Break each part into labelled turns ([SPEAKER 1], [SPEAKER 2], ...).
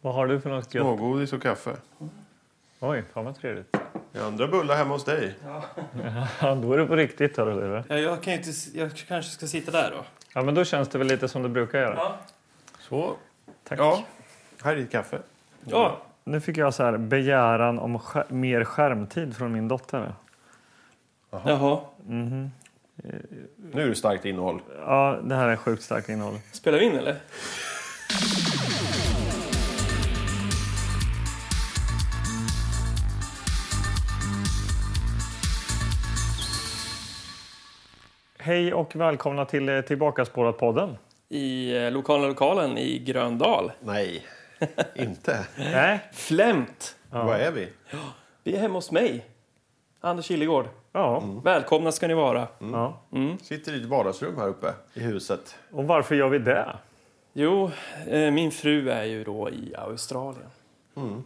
[SPEAKER 1] Vad har du för något gött?
[SPEAKER 2] Smågodis och kaffe.
[SPEAKER 1] Oj, fan vad trevligt.
[SPEAKER 2] Jag andra bullar hemma hos dig.
[SPEAKER 1] Ja, då är det på riktigt, hörru du.
[SPEAKER 3] Ja, jag, kan ju inte, s- jag kanske ska sitta där då.
[SPEAKER 1] Ja, men då känns det väl lite som det brukar göra.
[SPEAKER 3] Ja.
[SPEAKER 2] Så.
[SPEAKER 1] Tack.
[SPEAKER 2] Ja, här är ditt kaffe.
[SPEAKER 3] ja.
[SPEAKER 1] Nu fick jag så här begäran om skär- mer skärmtid från min dotter. Mhm.
[SPEAKER 3] Jaha.
[SPEAKER 2] Nu är det starkt innehåll.
[SPEAKER 1] Ja, det här är sjukt starkt innehåll.
[SPEAKER 3] Spelar vi in eller?
[SPEAKER 1] Hej och välkomna till eh, Tillbakaspårat-podden.
[SPEAKER 3] I eh, lokala lokalen i Gröndal.
[SPEAKER 2] Nej, inte.
[SPEAKER 1] Nej.
[SPEAKER 3] Flämt!
[SPEAKER 2] Vad är vi?
[SPEAKER 3] Vi är hemma hos mig. Anders Gillegård.
[SPEAKER 1] Ja.
[SPEAKER 3] Mm. Välkomna ska ni vara.
[SPEAKER 1] ja.
[SPEAKER 2] Sitter i ett vardagsrum här uppe i huset.
[SPEAKER 1] Och varför gör vi det?
[SPEAKER 3] Jo, eh, min fru är ju då i Australien. Mm.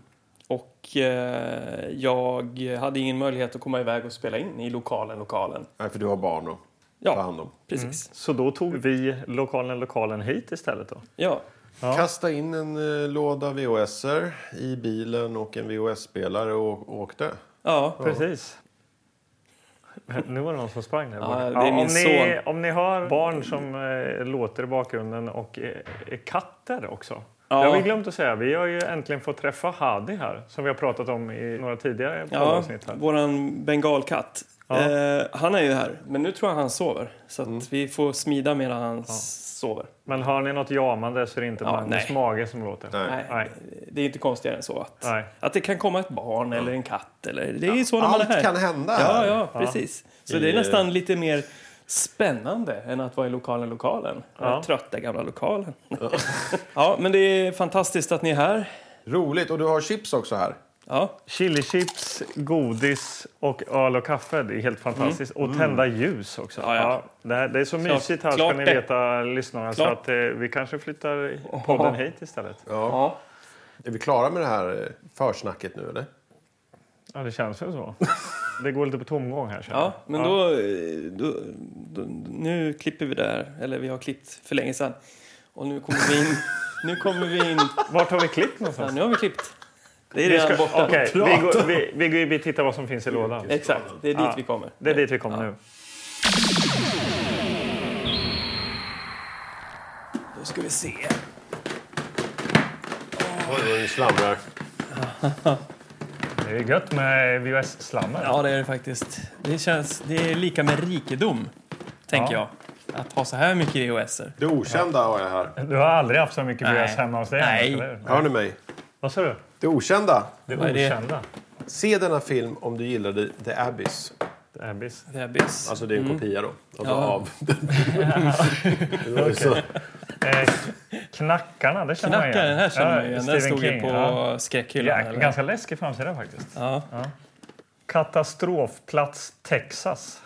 [SPEAKER 3] Och eh, jag hade ingen möjlighet att komma iväg och spela in i lokalen, lokalen.
[SPEAKER 2] Nej, för du har barn att ta
[SPEAKER 3] Ja,
[SPEAKER 2] hand om.
[SPEAKER 3] precis.
[SPEAKER 1] Så då tog vi lokalen, lokalen hit istället då.
[SPEAKER 3] Ja,
[SPEAKER 1] Ja.
[SPEAKER 2] Kasta in en eh, låda VHSer i bilen och en VHS-spelare och åkte.
[SPEAKER 3] ja.
[SPEAKER 1] Precis. Nu var det någon som sprang där
[SPEAKER 3] Ja,
[SPEAKER 1] borta.
[SPEAKER 3] det är
[SPEAKER 1] Ja, om,
[SPEAKER 3] min Mm.
[SPEAKER 1] ni, om ni hör barn som eh, låter i bakgrunden och eh, är katter också.
[SPEAKER 3] Ja.
[SPEAKER 1] Det har vi glömt att säga. Vi har ju äntligen fått träffa Hadi här som vi har pratat om i några tidigare
[SPEAKER 3] Ja,
[SPEAKER 1] poddavsnitt. här.
[SPEAKER 3] våran bengalkatt.
[SPEAKER 1] Ja. Mm.
[SPEAKER 3] Eh, han är ju här, men nu tror jag han sover. Så att vi får smida medan han sover.
[SPEAKER 1] Men hör ni något jamande så är det inte
[SPEAKER 3] Ja,
[SPEAKER 1] Magnus
[SPEAKER 3] nej.
[SPEAKER 1] mage som låter.
[SPEAKER 2] Nej.
[SPEAKER 3] Nej,
[SPEAKER 1] Nej.
[SPEAKER 3] Det är inte konstigare än så. Att,
[SPEAKER 1] Nej.
[SPEAKER 3] att det kan komma ett barn eller en katt. Eller, det är ju så när man är här.
[SPEAKER 2] Allt kan hända
[SPEAKER 3] Ja,
[SPEAKER 2] här.
[SPEAKER 3] ja, precis. Så
[SPEAKER 2] I- eh,
[SPEAKER 3] det är nästan lite mer spännande än att vara i lokalen, lokalen. Den
[SPEAKER 1] Ja.
[SPEAKER 3] trötta gamla lokalen. ja, men det är fantastiskt att ni är här.
[SPEAKER 2] Roligt. Och du har chips också här.
[SPEAKER 3] Ja,
[SPEAKER 1] Chilichips, godis och öl och kaffe. Det är helt fantastiskt. Och tända ljus också.
[SPEAKER 3] Mm. Ja, ja.
[SPEAKER 1] det, här, det är så mysigt här
[SPEAKER 3] klart
[SPEAKER 1] ska ni
[SPEAKER 3] det.
[SPEAKER 1] veta lyssnarna. Så
[SPEAKER 3] Klart.
[SPEAKER 1] att, eh, vi kanske flyttar podden hit istället.
[SPEAKER 3] ja.
[SPEAKER 2] Är vi klara med det här eh, försnacket nu eller?
[SPEAKER 1] Ja, det känns ju så. Det går lite på tomgång här. känner jag.
[SPEAKER 3] ja men Då, då, då... Nu klipper vi där, eller vi har klippt för länge sedan. Och nu kommer vi in... nu kommer vi in...
[SPEAKER 1] Vart har vi klippt
[SPEAKER 3] Ja,
[SPEAKER 1] någonstans?
[SPEAKER 3] nu har vi klippt. Det är
[SPEAKER 1] Vi,
[SPEAKER 3] redan
[SPEAKER 1] ska,
[SPEAKER 3] borta.
[SPEAKER 1] okej, vi, går, vi, vi, går- vi tittar vad som finns i lådan.
[SPEAKER 3] Exakt, det är dit
[SPEAKER 1] Ja.
[SPEAKER 3] vi kommer.
[SPEAKER 1] Det är dit vi kommer nu.
[SPEAKER 3] Då ska vi se.
[SPEAKER 2] Oj, vad det slamrar.
[SPEAKER 1] Det är gött med VHS-slammer.
[SPEAKER 3] Ja, det är det faktiskt. Det, känns, det är lika med rikedom, tänker
[SPEAKER 1] Ja.
[SPEAKER 3] jag. Att ha så här mycket E VHSer.
[SPEAKER 2] Det okända har jag här.
[SPEAKER 1] Du har aldrig haft så mycket
[SPEAKER 3] Nej.
[SPEAKER 1] VHS hemma hos dig?
[SPEAKER 3] Nej.
[SPEAKER 1] eller hur?
[SPEAKER 2] Hör ni mig?
[SPEAKER 1] Vad sa du?
[SPEAKER 2] Det okända.
[SPEAKER 1] Det
[SPEAKER 3] Vad är det?
[SPEAKER 1] okända.
[SPEAKER 2] Se denna film om du gillade The Abyss.
[SPEAKER 1] Det är bis.
[SPEAKER 3] Det är bys.
[SPEAKER 2] Alltså det är en kopia då. Alltså
[SPEAKER 3] Ja.
[SPEAKER 2] av den. Det var ju så.
[SPEAKER 1] Eh, knackarna, det känner man igen.
[SPEAKER 3] Knackaren, den här känner man ju
[SPEAKER 1] Ja,
[SPEAKER 3] igen. Den
[SPEAKER 1] Stephen
[SPEAKER 3] stod ju
[SPEAKER 1] King,
[SPEAKER 3] på
[SPEAKER 1] ja.
[SPEAKER 3] skräckhyllan.
[SPEAKER 1] Jäkla,
[SPEAKER 3] eller?
[SPEAKER 1] ganska läskig framsida faktiskt.
[SPEAKER 3] Ja.
[SPEAKER 1] Katastrofplats Texas.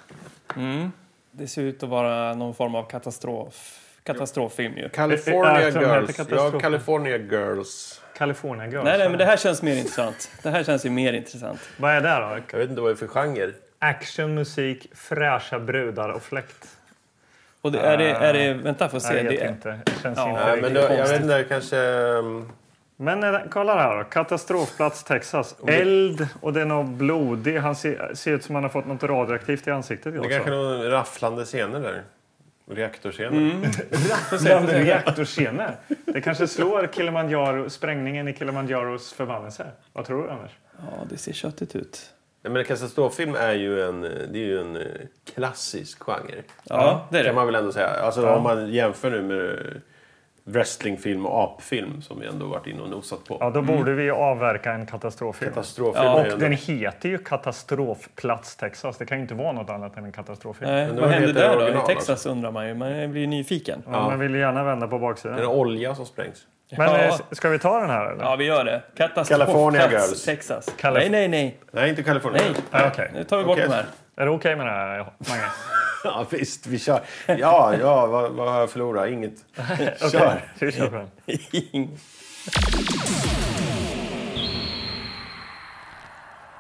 [SPEAKER 3] Mm. Det ser ut att vara någon form av katastrof. katastroffilm ju.
[SPEAKER 2] California
[SPEAKER 1] Jag tror den heter
[SPEAKER 2] Girls.
[SPEAKER 1] Katastrofen.
[SPEAKER 2] Ja, California Girls.
[SPEAKER 1] California Girls.
[SPEAKER 3] Nej, nej, men det här känns mer intressant. Det här känns ju mer intressant.
[SPEAKER 1] alltså. Vad är det då?
[SPEAKER 2] Jag vet inte vad det är för genre.
[SPEAKER 1] Action, musik, fräscha brudar och fläkt.
[SPEAKER 3] Och det, är det, är det, vänta, får se.
[SPEAKER 1] Ah, Nej, jag
[SPEAKER 3] Det
[SPEAKER 1] vet
[SPEAKER 3] är,
[SPEAKER 1] inte. Det känns
[SPEAKER 3] E. Ja,
[SPEAKER 1] inte
[SPEAKER 2] Nej,
[SPEAKER 1] riktigt.
[SPEAKER 2] men då, jag vet inte, kanske... ehm,
[SPEAKER 1] Men eh, kolla här då. Katastrofplats Texas. Eld och det är något blodig. Han ser, ser ut som han har fått något radioaktivt i ansiktet.
[SPEAKER 2] Det
[SPEAKER 1] också.
[SPEAKER 2] är kanske någon rafflande scener där. Reaktorscener.
[SPEAKER 1] Bland reaktorscener. Det kanske slår Kilimanjaro, sprängningen i Kilimanjaros förbannelse. Vad tror du annars?
[SPEAKER 3] ja, det ser köttigt ut.
[SPEAKER 2] Nej, men katastroffilm är ju en, eh, det är ju en eh, klassisk genre.
[SPEAKER 3] Ja, det är
[SPEAKER 2] Kan
[SPEAKER 3] det.
[SPEAKER 2] man väl ändå säga. Alltså om man jämför nu med eh, wrestlingfilm och apfilm som vi ändå varit inne och nosat på.
[SPEAKER 1] Ja, då borde vi ju avverka en katastroffilm.
[SPEAKER 2] Katastroffilm
[SPEAKER 3] Ja,
[SPEAKER 2] är
[SPEAKER 3] och
[SPEAKER 2] ju
[SPEAKER 1] Och
[SPEAKER 2] ändå...
[SPEAKER 1] den heter ju Katastrofplats Texas. Det kan ju inte vara något annat än en katastroffilm.
[SPEAKER 3] Nej,
[SPEAKER 2] Men då
[SPEAKER 3] vad
[SPEAKER 2] heter
[SPEAKER 3] hände
[SPEAKER 2] det
[SPEAKER 3] där då?
[SPEAKER 2] original,
[SPEAKER 3] I Texas
[SPEAKER 1] alltså.
[SPEAKER 3] undrar man ju. Man blir ju nyfiken.
[SPEAKER 1] Ja, Man vill ju gärna vända på
[SPEAKER 2] Den
[SPEAKER 1] baksidan.
[SPEAKER 2] är olja som sprängs.
[SPEAKER 1] Men
[SPEAKER 3] Ja.
[SPEAKER 1] eh, ska vi ta den här eller?
[SPEAKER 3] Ja, vi gör det. Katastrof.
[SPEAKER 2] California
[SPEAKER 3] Plats,
[SPEAKER 2] Girls.
[SPEAKER 3] Texas.
[SPEAKER 1] Calif-
[SPEAKER 3] nej, nej, nej.
[SPEAKER 2] Nej, inte Kalifornien.
[SPEAKER 3] nej.
[SPEAKER 1] Ja, okej.
[SPEAKER 3] Nu tar vi bort
[SPEAKER 2] Okej.
[SPEAKER 3] de här.
[SPEAKER 1] Är det okej med det här, Mange?
[SPEAKER 2] Ja, visst, vi kör. Ja, ja, vad, vad har jag förlorat? Inget. Kör.
[SPEAKER 1] Vi kör på den.
[SPEAKER 3] Okej,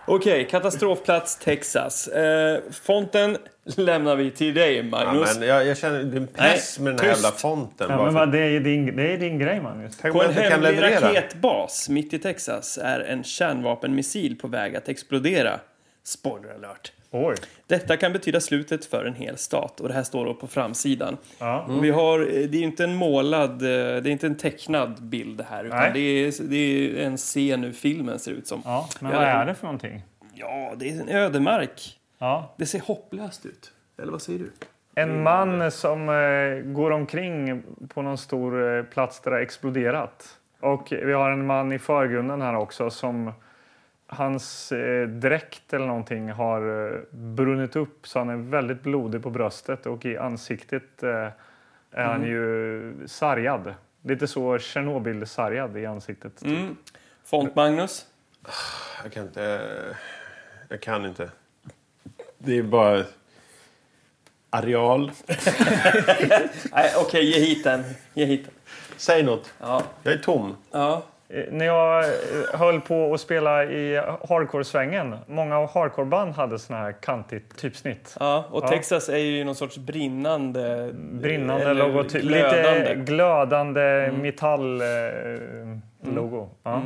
[SPEAKER 3] Okej, katastrofplats Texas. Eh, fonten lämnar vi till dig,
[SPEAKER 2] Ja,
[SPEAKER 3] Magnus.
[SPEAKER 2] men jag, jag känner det är en press
[SPEAKER 3] Nej,
[SPEAKER 2] med den här
[SPEAKER 3] tyst.
[SPEAKER 2] jävla fonten.
[SPEAKER 1] Ja,
[SPEAKER 2] bara
[SPEAKER 1] men
[SPEAKER 2] för-
[SPEAKER 1] vad, det, är ju din, det är din grej, Magnus.
[SPEAKER 2] Tänk
[SPEAKER 3] På
[SPEAKER 2] om jag
[SPEAKER 3] en
[SPEAKER 2] inte kan
[SPEAKER 3] hemlig
[SPEAKER 2] leverera.
[SPEAKER 3] raketbas mitt i Texas är en kärnvapenmissil på väg att explodera. Spoiler alert.
[SPEAKER 1] Oj.
[SPEAKER 3] Detta kan betyda slutet för en hel stat och det här står då på framsidan.
[SPEAKER 1] Ja.
[SPEAKER 3] Och Vi har, eh, det är ju inte en målad, eh, det är inte en tecknad bild här utan
[SPEAKER 1] Nej.
[SPEAKER 3] det är, det är en scen ur filmen ser det ut som.
[SPEAKER 1] Ja, men
[SPEAKER 3] Ja,
[SPEAKER 1] vad
[SPEAKER 3] ja.
[SPEAKER 1] är det för någonting?
[SPEAKER 3] Ja, det är en ödemark.
[SPEAKER 1] Ja.
[SPEAKER 3] Det ser hopplöst ut. Eller vad säger du?
[SPEAKER 1] En man som eh, går omkring på någon stor eh, plats där det har exploderat. Och vi har en man i förgrunden här också som hans eh, dräkt eller någonting har eh, brunnit upp så han är väldigt blodig på bröstet och i ansiktet eh, är han ju sargad. Lite så Tjernobyl-sargad i ansiktet.
[SPEAKER 3] Mm. Font Magnus?
[SPEAKER 2] Jag kan inte... eh, Jag kan inte. Det är bara... Areal.
[SPEAKER 3] Nej, okej, ge hit den. Ge hit den.
[SPEAKER 2] Säg något.
[SPEAKER 3] Ja.
[SPEAKER 2] Jag är tom.
[SPEAKER 3] ja.
[SPEAKER 1] Eh, När jag eh, höll på att spela i hardcore-svängen, många av hardcore-band hade såna här kantigt typsnitt.
[SPEAKER 3] Ja, och
[SPEAKER 1] Ja. Mm,
[SPEAKER 3] Texas är ju någon sorts brinnande...
[SPEAKER 1] Brinnande
[SPEAKER 3] eller
[SPEAKER 1] logotyp.
[SPEAKER 3] glödande.
[SPEAKER 1] Lite glödande metall-logo. ja.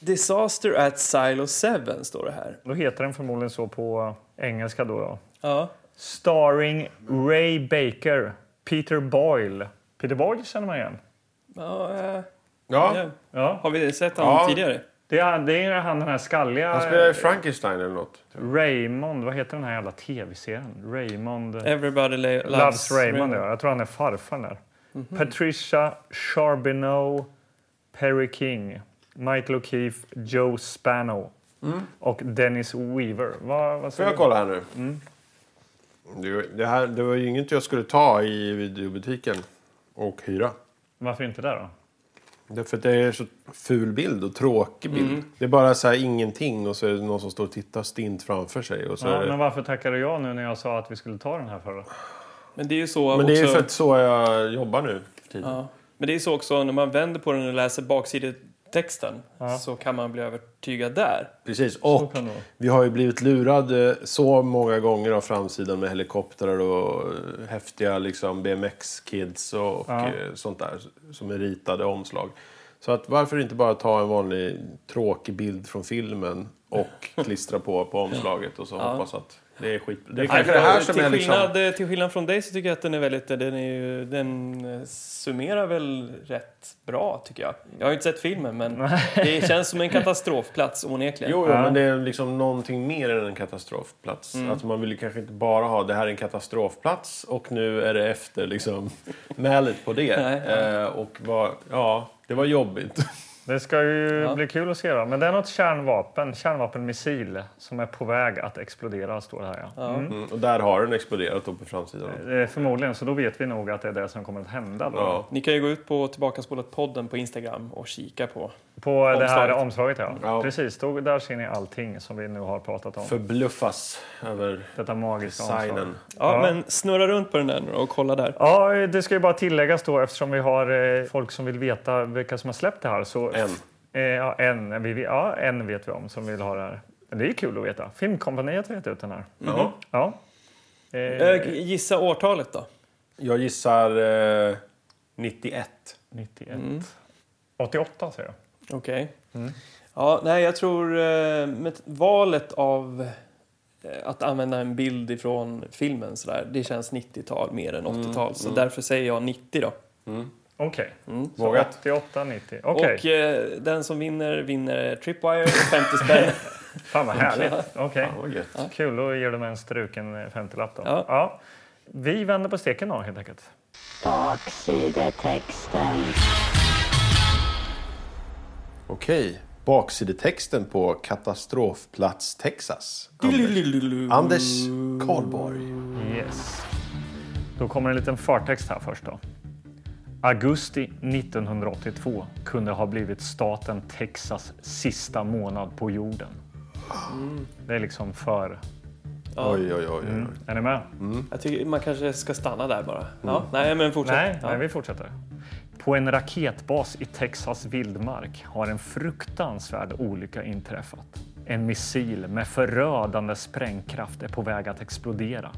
[SPEAKER 3] Disaster at Silo 7 står det här.
[SPEAKER 1] Då heter den förmodligen så på engelska. Då, då.
[SPEAKER 3] Ja.
[SPEAKER 1] Starring Ray Baker, Peter Boyle. Peter Boyle känner man igen.
[SPEAKER 3] ja, eh,
[SPEAKER 2] Ja,
[SPEAKER 3] ja.
[SPEAKER 1] Ja.
[SPEAKER 3] Har vi sett honom
[SPEAKER 2] Ja.
[SPEAKER 3] tidigare?
[SPEAKER 1] Det, är, han- det är han den här skalliga...
[SPEAKER 2] han spelar i Frankenstein eller något.
[SPEAKER 1] Raymond, vad heter den här jävla tv-serien? Raymond...
[SPEAKER 3] Everybody la- loves,
[SPEAKER 1] Loves, Raymond, Ja. Jag tror han är farfar där.
[SPEAKER 2] Mhm.
[SPEAKER 1] Patricia Charbonneau, Perry King, Michael O'Keefe, Joe Spano och Dennis Weaver. Vad, vad
[SPEAKER 2] Mm. Får
[SPEAKER 1] säger
[SPEAKER 2] jag kolla här nu? Det, det, här, det var ju inget jag skulle ta i videobutiken och hyra.
[SPEAKER 1] du? Varför inte det då?
[SPEAKER 2] Därför att det är så ful bild och tråkig bild. Det är bara så här ingenting och så är det någon som står och tittar stint framför sig. Och så
[SPEAKER 1] Ja,
[SPEAKER 2] är det...
[SPEAKER 1] men varför tackade jag nu när jag sa att vi skulle ta den här för då?
[SPEAKER 3] Men det är ju så
[SPEAKER 2] Men det är ju
[SPEAKER 3] också...
[SPEAKER 2] för att så jag jobbar nu. Typ.
[SPEAKER 3] Ja. Men det är så också när man vänder på den och läser baksidetexten så kan man bli övertygad där.
[SPEAKER 2] Precis, och
[SPEAKER 1] kan det vara.
[SPEAKER 2] vi har ju blivit lurade så många gånger av framsidan med helikoptrar och eh, häftiga liksom, BMX-kids och, och
[SPEAKER 1] Ja.
[SPEAKER 2] eh, sånt där som är ritade omslag. Så att varför inte bara ta en vanlig tråkig bild från filmen och klistra på på omslaget och så hoppas att det är skit. Det är kanske det här som
[SPEAKER 3] till,
[SPEAKER 2] är liksom...
[SPEAKER 3] skillnad, eh, till skillnad från dig så tycker jag att den är väldigt... Den, är ju, den eh, summerar väl rätt bra, tycker jag. Jag har ju inte sett filmen, men det känns som en katastrofplats onekligen.
[SPEAKER 2] Jo, jo men det är liksom någonting mer än en katastrofplats. Att man vill ju kanske inte bara ha det här är en katastrofplats och nu är det efter liksom mälet på det.
[SPEAKER 3] Nej,
[SPEAKER 2] eh, och vad, ja, det var jobbigt.
[SPEAKER 1] Det ska ju
[SPEAKER 3] Ja.
[SPEAKER 1] bli kul att se då. Men det är något kärnvapen, kärnvapenmissil som är på väg att explodera står det här ja.
[SPEAKER 2] Mm, och där har den exploderat då på framsidan.
[SPEAKER 1] Eh, Förmodligen, så då vet vi nog att det är det som kommer att hända då.
[SPEAKER 2] Ja.
[SPEAKER 3] Ni kan ju gå ut på Tillbakaspolat-podden på Instagram och kika på.
[SPEAKER 1] På det här
[SPEAKER 3] Omslaget.
[SPEAKER 1] omslaget ja.
[SPEAKER 2] Ja.
[SPEAKER 1] Precis, då, där ser ni allting som vi nu har pratat om.
[SPEAKER 2] Förbluffas över
[SPEAKER 1] Detta magiska omslag.
[SPEAKER 2] designen.
[SPEAKER 3] Ja,
[SPEAKER 1] Ja.
[SPEAKER 3] men snurra runt på den där nu och kolla där.
[SPEAKER 1] Ja, det ska ju bara tilläggas då eftersom vi har eh, folk som vill veta vilka som har släppt det här. Så,
[SPEAKER 2] En.
[SPEAKER 1] Eh, ja, en, vi, ja, en vet vi om som vill ha det här. Men Det är ju kul att veta. Filmkompaniet har gett ut den här. Mm.
[SPEAKER 2] Ja.
[SPEAKER 1] Ja. Eh,
[SPEAKER 3] Eh, Gissa årtalet då.
[SPEAKER 2] Jag gissar eh, 91.
[SPEAKER 1] 91.
[SPEAKER 2] Mm.
[SPEAKER 1] 88 säger jag.
[SPEAKER 3] Okej.
[SPEAKER 1] Mm.
[SPEAKER 3] Ja, nej, jag tror eh, med valet av eh, att använda en bild ifrån filmen sådär, det känns 90-tal mer än
[SPEAKER 1] Mm,
[SPEAKER 3] 80-tal. så därför säger jag 90 då.
[SPEAKER 1] Okej. Så
[SPEAKER 2] Mm. Vågat.
[SPEAKER 1] 88, 90. Okej.
[SPEAKER 3] Och eh, den som vinner vinner Tripwire 50 spänn.
[SPEAKER 1] Fan vad härligt. Okej.
[SPEAKER 2] Fan, vad gött.
[SPEAKER 1] Kul, då ger du mig en struken eh, 50-lapp då.
[SPEAKER 3] Ja.
[SPEAKER 1] Ja. Vi vänder på steken då helt enkelt.
[SPEAKER 4] Baksidetexten.
[SPEAKER 2] Okej, baksidetexten på Katastrofplats Texas. Anders Karlborg.
[SPEAKER 1] Yes. Då kommer en liten förtext här först då. Augusti 1982 kunde ha blivit staten Texas sista månad på jorden. Det är liksom för... Mm.
[SPEAKER 2] Oj, oj, oj. oj.
[SPEAKER 1] Är ni med?
[SPEAKER 3] Jag tycker man kanske ska stanna där bara. Ja, nej, men fortsätt.
[SPEAKER 1] Mm. Nej,
[SPEAKER 3] ja.
[SPEAKER 1] nej, vi fortsätter. På en raketbas i Texas vildmark har en fruktansvärd olycka inträffat. En missil med förödande sprängkraft är på väg att explodera.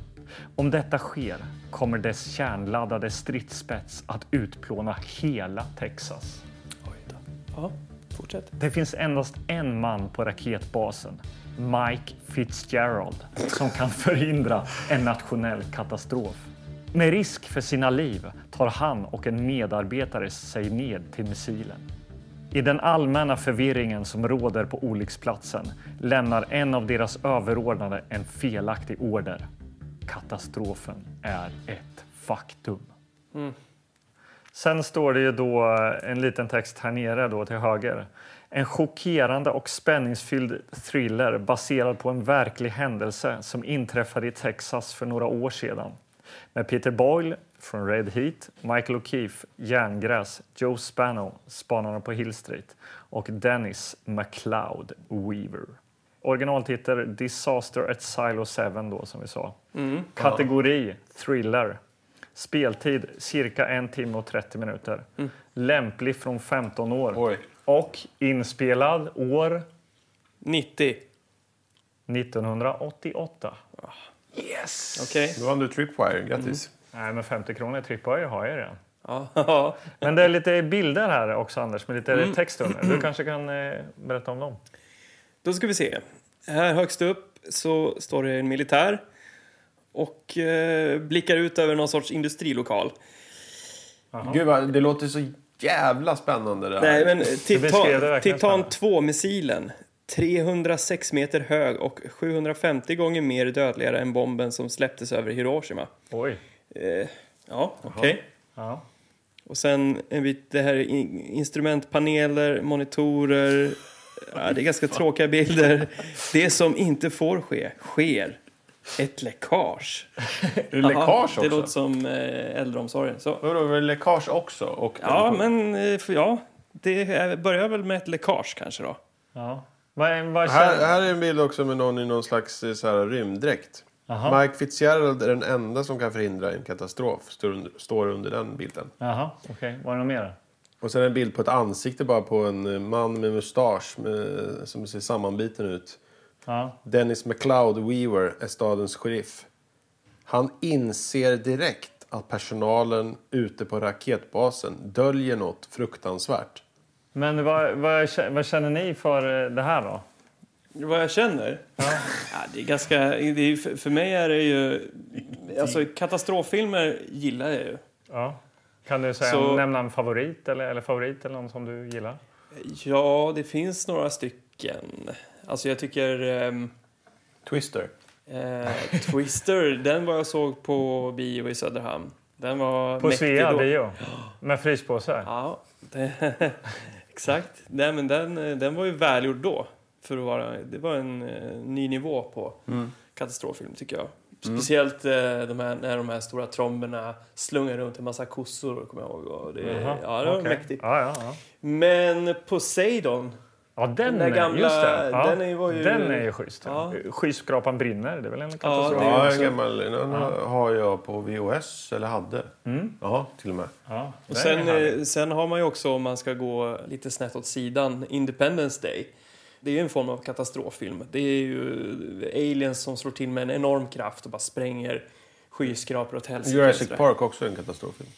[SPEAKER 1] Om detta sker kommer dess kärnladdade stridsspets att utplåna hela Texas.
[SPEAKER 3] Oj då. Ja, fortsätt.
[SPEAKER 1] Det finns endast en man på raketbasen, Mike Fitzgerald, som kan förhindra en nationell katastrof. Med risk för sina liv tar han och en medarbetare sig ned till missilen. I den allmänna förvirringen som råder på olycksplatsen lämnar en av deras överordnade en felaktig order. Katastrofen är ett faktum. Sen står det ju då en liten text här nere då till höger. En chockerande och spänningsfylld thriller baserad på en verklig händelse som inträffade i Texas för några år sedan. Med Peter Boyle från Red Heat, Michael O'Keefe, Järngräs, Joe Spano, Spanarna på Hill Street och Dennis McLeod Weaver. Originaltitel Disaster at Silo 7 då som vi sa.
[SPEAKER 3] Mm.
[SPEAKER 1] Kategori Thriller. Speltid cirka en timme och 30 minuter. Lämplig från 15 år.
[SPEAKER 2] Oj.
[SPEAKER 1] Och inspelad år
[SPEAKER 3] 90.
[SPEAKER 1] 1988.
[SPEAKER 3] Okej. Mm.
[SPEAKER 2] Nu vann du Tripwire, grattis.
[SPEAKER 1] Nej, men 50 kronor trippar jag har jag redan.
[SPEAKER 3] Ja.
[SPEAKER 1] Men det är lite bilder här också, Anders, med lite
[SPEAKER 3] Mm.
[SPEAKER 1] text under. Du kanske kan eh, berätta om dem?
[SPEAKER 3] Då ska vi se. Här högst upp så står det en militär och eh, blickar ut över någon sorts industrilokal.
[SPEAKER 2] Gud, vad, det låter så jävla spännande det här.
[SPEAKER 3] Nej, men
[SPEAKER 1] beskrev det
[SPEAKER 3] Titan,
[SPEAKER 1] verkligen
[SPEAKER 3] Titan
[SPEAKER 1] snabbt.
[SPEAKER 3] 2-missilen. 306 meter hög och 750 gånger mer dödligare än bomben som släpptes över Hiroshima.
[SPEAKER 1] Oj.
[SPEAKER 3] Eh, ja, okej.
[SPEAKER 1] Ja.
[SPEAKER 3] Och sen en bit, det här är in- instrumentpaneler, monitorer. Ja, det är ganska tråkiga bilder. Det som inte får ske, sker. Ett läckage.
[SPEAKER 2] Är det läckage
[SPEAKER 3] Jaha,
[SPEAKER 2] också?
[SPEAKER 3] Det låter som eh, äldreomsorgen. Så.
[SPEAKER 2] Vadå, var det läckage också? Och
[SPEAKER 3] Ja, men eh, för- ja, det är- börjar väl med ett läckage kanske då.
[SPEAKER 1] ja. Vad, vad
[SPEAKER 2] Här,
[SPEAKER 1] känner...
[SPEAKER 2] här är en bild också med någon i någon slags eh, så här, rymddräkt.
[SPEAKER 1] Aha.
[SPEAKER 2] Mike Fitzgerald är den enda som kan förhindra en katastrof, står under, står under den bilden.
[SPEAKER 1] Jaha, okej. Var det något mer?
[SPEAKER 2] Och sen en bild på ett ansikte bara på en eh, man med mustasch med, som ser sammanbiten ut.
[SPEAKER 1] Ja.
[SPEAKER 2] Dennis McLeod Weaver är stadens sheriff. Han inser direkt att personalen ute på raketbasen döljer något fruktansvärt.
[SPEAKER 1] Men vad, vad, kä- vad känner ni för eh, det här då?
[SPEAKER 3] Vad jag känner? Ja, det är ganska, det är, för för mig är det ju... Alltså, katastroffilmer gillar jag ju.
[SPEAKER 1] Ja. Kan du säga,
[SPEAKER 3] Så-
[SPEAKER 1] nämna en favorit eller, eller favorit eller någon som du gillar?
[SPEAKER 3] Ja, det finns några stycken. Alltså jag tycker ehm,
[SPEAKER 2] Twister.
[SPEAKER 3] eh, Twister, den var jag såg på bio i Söderhamn. Den var
[SPEAKER 1] På
[SPEAKER 3] mäktig
[SPEAKER 1] Svea
[SPEAKER 3] då.
[SPEAKER 1] bio? Med fryspåsar?
[SPEAKER 3] Ja, det, exakt. Nej, men den, eh, den var ju välgjord då. För att vara, det var en eh, ny nivå på
[SPEAKER 1] Mm.
[SPEAKER 3] katastroffilm tycker jag. Speciellt eh, de här, när de här stora tromberna slungar runt en massa kossor, kommer jag ihåg. Och det,
[SPEAKER 1] Jaha,
[SPEAKER 3] ja, det var
[SPEAKER 1] okej.
[SPEAKER 3] mäktigt.
[SPEAKER 1] Ja, ja, ja.
[SPEAKER 3] Men Poseidon,
[SPEAKER 1] Ja, den,
[SPEAKER 3] Den där gamla-
[SPEAKER 1] just det. Ja,
[SPEAKER 3] den är ju- var ju-
[SPEAKER 1] den är ju schysst.
[SPEAKER 3] Ja.
[SPEAKER 1] Skyskrapan brinner, det är väl en katastrof?
[SPEAKER 3] det är
[SPEAKER 2] Ja,
[SPEAKER 3] också-
[SPEAKER 2] en gammal den har jag på VHS, eller hade. Ja, till och med.
[SPEAKER 1] Mm. Ja,
[SPEAKER 3] Och
[SPEAKER 1] den är
[SPEAKER 3] sen,
[SPEAKER 1] härlig.
[SPEAKER 3] eh, sen har man ju också, om man ska gå lite snett åt sidan, Independence Day. Det är ju en form av katastroffilm. Det är ju aliens som slår till med en enorm kraft och bara spränger skyskrapor åt helsike.
[SPEAKER 2] Jurassic
[SPEAKER 3] Sådär.
[SPEAKER 2] Park också en katastroffilm.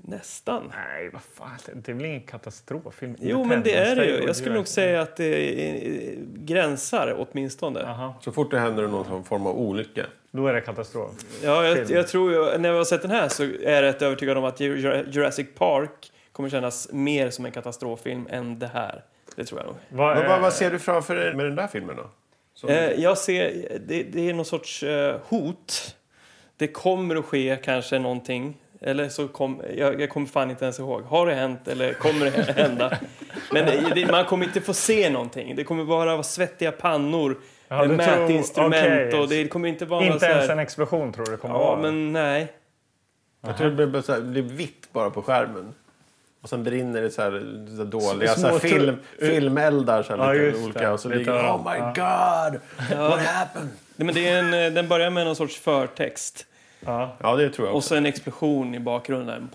[SPEAKER 3] Nästan.
[SPEAKER 1] Nej, vad fan. Det är väl ingen katastroffilm?
[SPEAKER 3] Jo, men det är det
[SPEAKER 1] Independence Day
[SPEAKER 3] ju.
[SPEAKER 1] och
[SPEAKER 3] Jag skulle nog
[SPEAKER 1] Jurassic-
[SPEAKER 3] säga att det eh, gränsar åtminstone.
[SPEAKER 1] Aha,
[SPEAKER 2] Så fort det händer någon form av olycka.
[SPEAKER 1] då är det katastrof.
[SPEAKER 3] Ja, jag,
[SPEAKER 1] Film.
[SPEAKER 3] jag tror ju, när jag har sett den här så är jag rätt övertygad om att Jur- Jurassic Park kommer kännas mer som en katastroffilm än det här. Det tror jag nog.
[SPEAKER 1] Vad,
[SPEAKER 2] Men
[SPEAKER 1] är-
[SPEAKER 2] vad, vad ser du framför dig med den där filmen då? Som-
[SPEAKER 3] Eh, jag ser, det, det är någon sorts eh, hot. Det kommer att ske kanske någonting. Eller så kom, jag, jag kommer fan inte ens ihåg. Har det hänt eller kommer det hända? Men det, det, man kommer inte få se någonting. Det kommer bara vara svettiga pannor,
[SPEAKER 1] Ja,
[SPEAKER 3] eh,
[SPEAKER 1] du tror-
[SPEAKER 3] mätinstrument
[SPEAKER 1] okej.
[SPEAKER 3] och det kommer inte vara några
[SPEAKER 1] Inte
[SPEAKER 3] så
[SPEAKER 1] ens
[SPEAKER 3] här,
[SPEAKER 1] en explosion tror du det kommer
[SPEAKER 3] Ja,
[SPEAKER 1] vara?
[SPEAKER 3] men nej.
[SPEAKER 2] Jag tror det blir, bara så här, det blir vitt bara på skärmen. Och sen brinner det så här, så här dåliga
[SPEAKER 1] Små
[SPEAKER 2] så här
[SPEAKER 1] tru-
[SPEAKER 2] film, filmeldar. Så här,
[SPEAKER 1] Ja,
[SPEAKER 2] lite
[SPEAKER 1] just
[SPEAKER 2] olika.
[SPEAKER 1] det.
[SPEAKER 2] Och så
[SPEAKER 1] Lite
[SPEAKER 2] ligger
[SPEAKER 1] öron.
[SPEAKER 2] Oh my god! What happened?
[SPEAKER 3] Nej, Men det är en, eh, den börjar med någon sorts förtext.
[SPEAKER 1] Ja.
[SPEAKER 2] Ja, det tror jag
[SPEAKER 3] Och
[SPEAKER 2] också.
[SPEAKER 3] så en explosion i bakgrunden.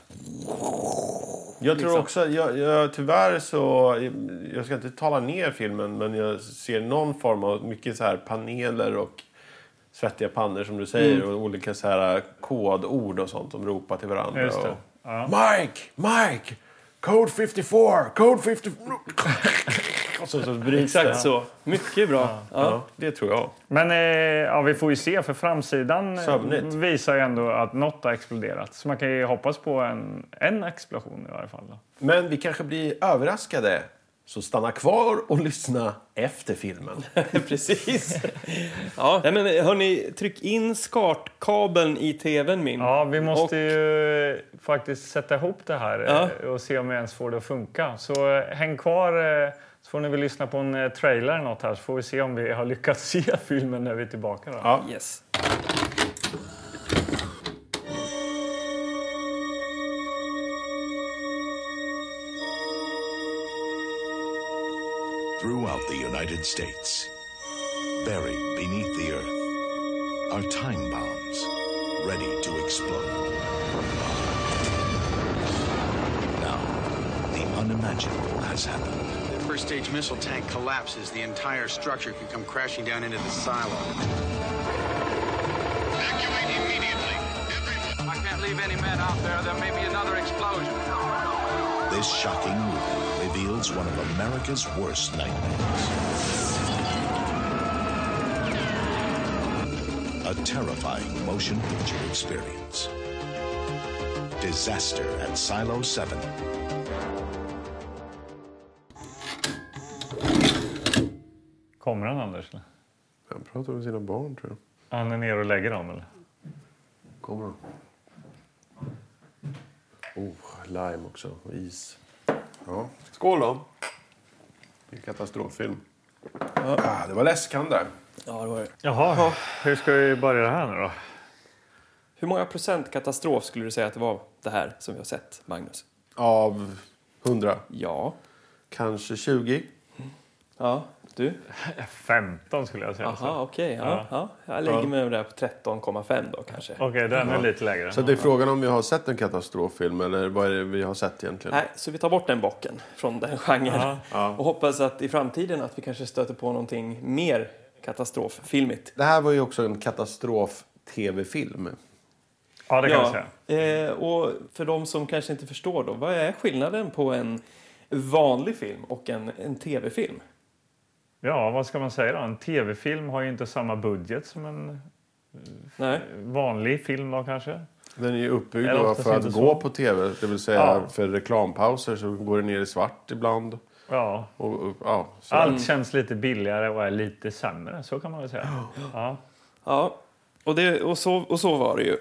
[SPEAKER 2] Jag tror
[SPEAKER 3] liksom.
[SPEAKER 2] också, jag, jag, tyvärr så, jag ska inte tala ner filmen, men jag ser någon form av mycket så här paneler och svettiga pannor som du säger och olika så här äh, kodord och sånt som ropar till varandra.
[SPEAKER 1] Just det.
[SPEAKER 2] Och,
[SPEAKER 1] Ja.
[SPEAKER 2] Mike! Mike! Code 54! Code 54! och så, så bryts det.
[SPEAKER 3] Exakt så. Mycket bra. Ja.
[SPEAKER 2] Ja, det tror jag.
[SPEAKER 1] Men eh, ja, vi får ju se, för framsidan eh,
[SPEAKER 2] Sömnigt.
[SPEAKER 1] visar ju ändå att något har exploderat. Så man kan ju hoppas på en, en explosion i varje fall. Då.
[SPEAKER 2] Men vi kanske blir överraskade. Så stanna kvar och lyssna efter filmen.
[SPEAKER 3] Precis. ja. Nej, men hörni, tryck in skartkabeln i tvn min.
[SPEAKER 1] Ja, vi måste
[SPEAKER 3] Och-
[SPEAKER 1] ju eh, faktiskt sätta ihop det här eh, och se om vi ens får det att funka. Så eh, häng kvar eh, så får ni väl lyssna på en eh, trailer eller något här så får vi se om vi har lyckats se filmen när vi är tillbaka. Då.
[SPEAKER 2] Ja.
[SPEAKER 3] Yes.
[SPEAKER 4] throughout the United States. Buried beneath the earth are time bombs ready to explode. Now, the unimaginable has happened.
[SPEAKER 5] The first stage missile tank collapses, the entire structure could come crashing down into the silo.
[SPEAKER 6] Evacuate immediately. Everyone.
[SPEAKER 7] I can't leave any men out there. There may be another explosion.
[SPEAKER 4] This shocking movie reveals one of America's worst nightmares. A terrifying motion picture experience. Disaster at Silo 7.
[SPEAKER 1] Kommer han Anders? eller?
[SPEAKER 2] Han pratar om sina barn, tror jag.
[SPEAKER 1] Han är nere och lägger dem eller?
[SPEAKER 2] Kommer de? Oh, lime också. Och is. Ja. Skål då! Vilken katastroffilm. Ah, det var läskande.
[SPEAKER 3] Ja, det var det.
[SPEAKER 1] Jaha, hur ska vi börja det här nu då?
[SPEAKER 3] Hur många procent katastrof skulle du säga att det var det här som vi har sett, Magnus?
[SPEAKER 2] Av 100.
[SPEAKER 3] Ja.
[SPEAKER 2] Kanske 20.
[SPEAKER 3] Ja, du?
[SPEAKER 1] 15 skulle jag säga. så.
[SPEAKER 3] Aha, okej. ja, Alltså. ja. Jag lägger mig över det här på 13,5 då kanske.
[SPEAKER 1] Okej, den är lite lägre.
[SPEAKER 2] Så det är frågan om vi har sett en katastroffilm eller vad är det vi har sett egentligen?
[SPEAKER 3] Nej, så vi tar bort den bocken från den genren och hoppas att i framtiden att vi kanske stöter på någonting mer katastroffilmigt.
[SPEAKER 2] Det här var ju också en katastrof-tv-film.
[SPEAKER 1] Ja, det kan jag säga.
[SPEAKER 3] eh, och för de som kanske inte förstår då, vad är skillnaden på en vanlig film och en, en tv-film?
[SPEAKER 1] Ja, vad ska man säga då? En tv-film har ju inte samma budget som en
[SPEAKER 3] Nej,
[SPEAKER 1] vanlig film då kanske.
[SPEAKER 2] Den är ju uppbyggd
[SPEAKER 1] Eller
[SPEAKER 2] va,
[SPEAKER 1] oftast
[SPEAKER 2] för
[SPEAKER 1] inte
[SPEAKER 2] att
[SPEAKER 1] så.
[SPEAKER 2] gå på tv, det vill säga
[SPEAKER 1] Ja.
[SPEAKER 2] för reklampauser så går det ner i svart ibland.
[SPEAKER 1] Ja,
[SPEAKER 2] Och, och, ja, så.
[SPEAKER 3] Mm.
[SPEAKER 1] Allt känns lite billigare och är lite sämre, så kan man väl
[SPEAKER 3] Oh,
[SPEAKER 1] säga. Ja.
[SPEAKER 3] ja. Och, det, och, så, och så var det ju.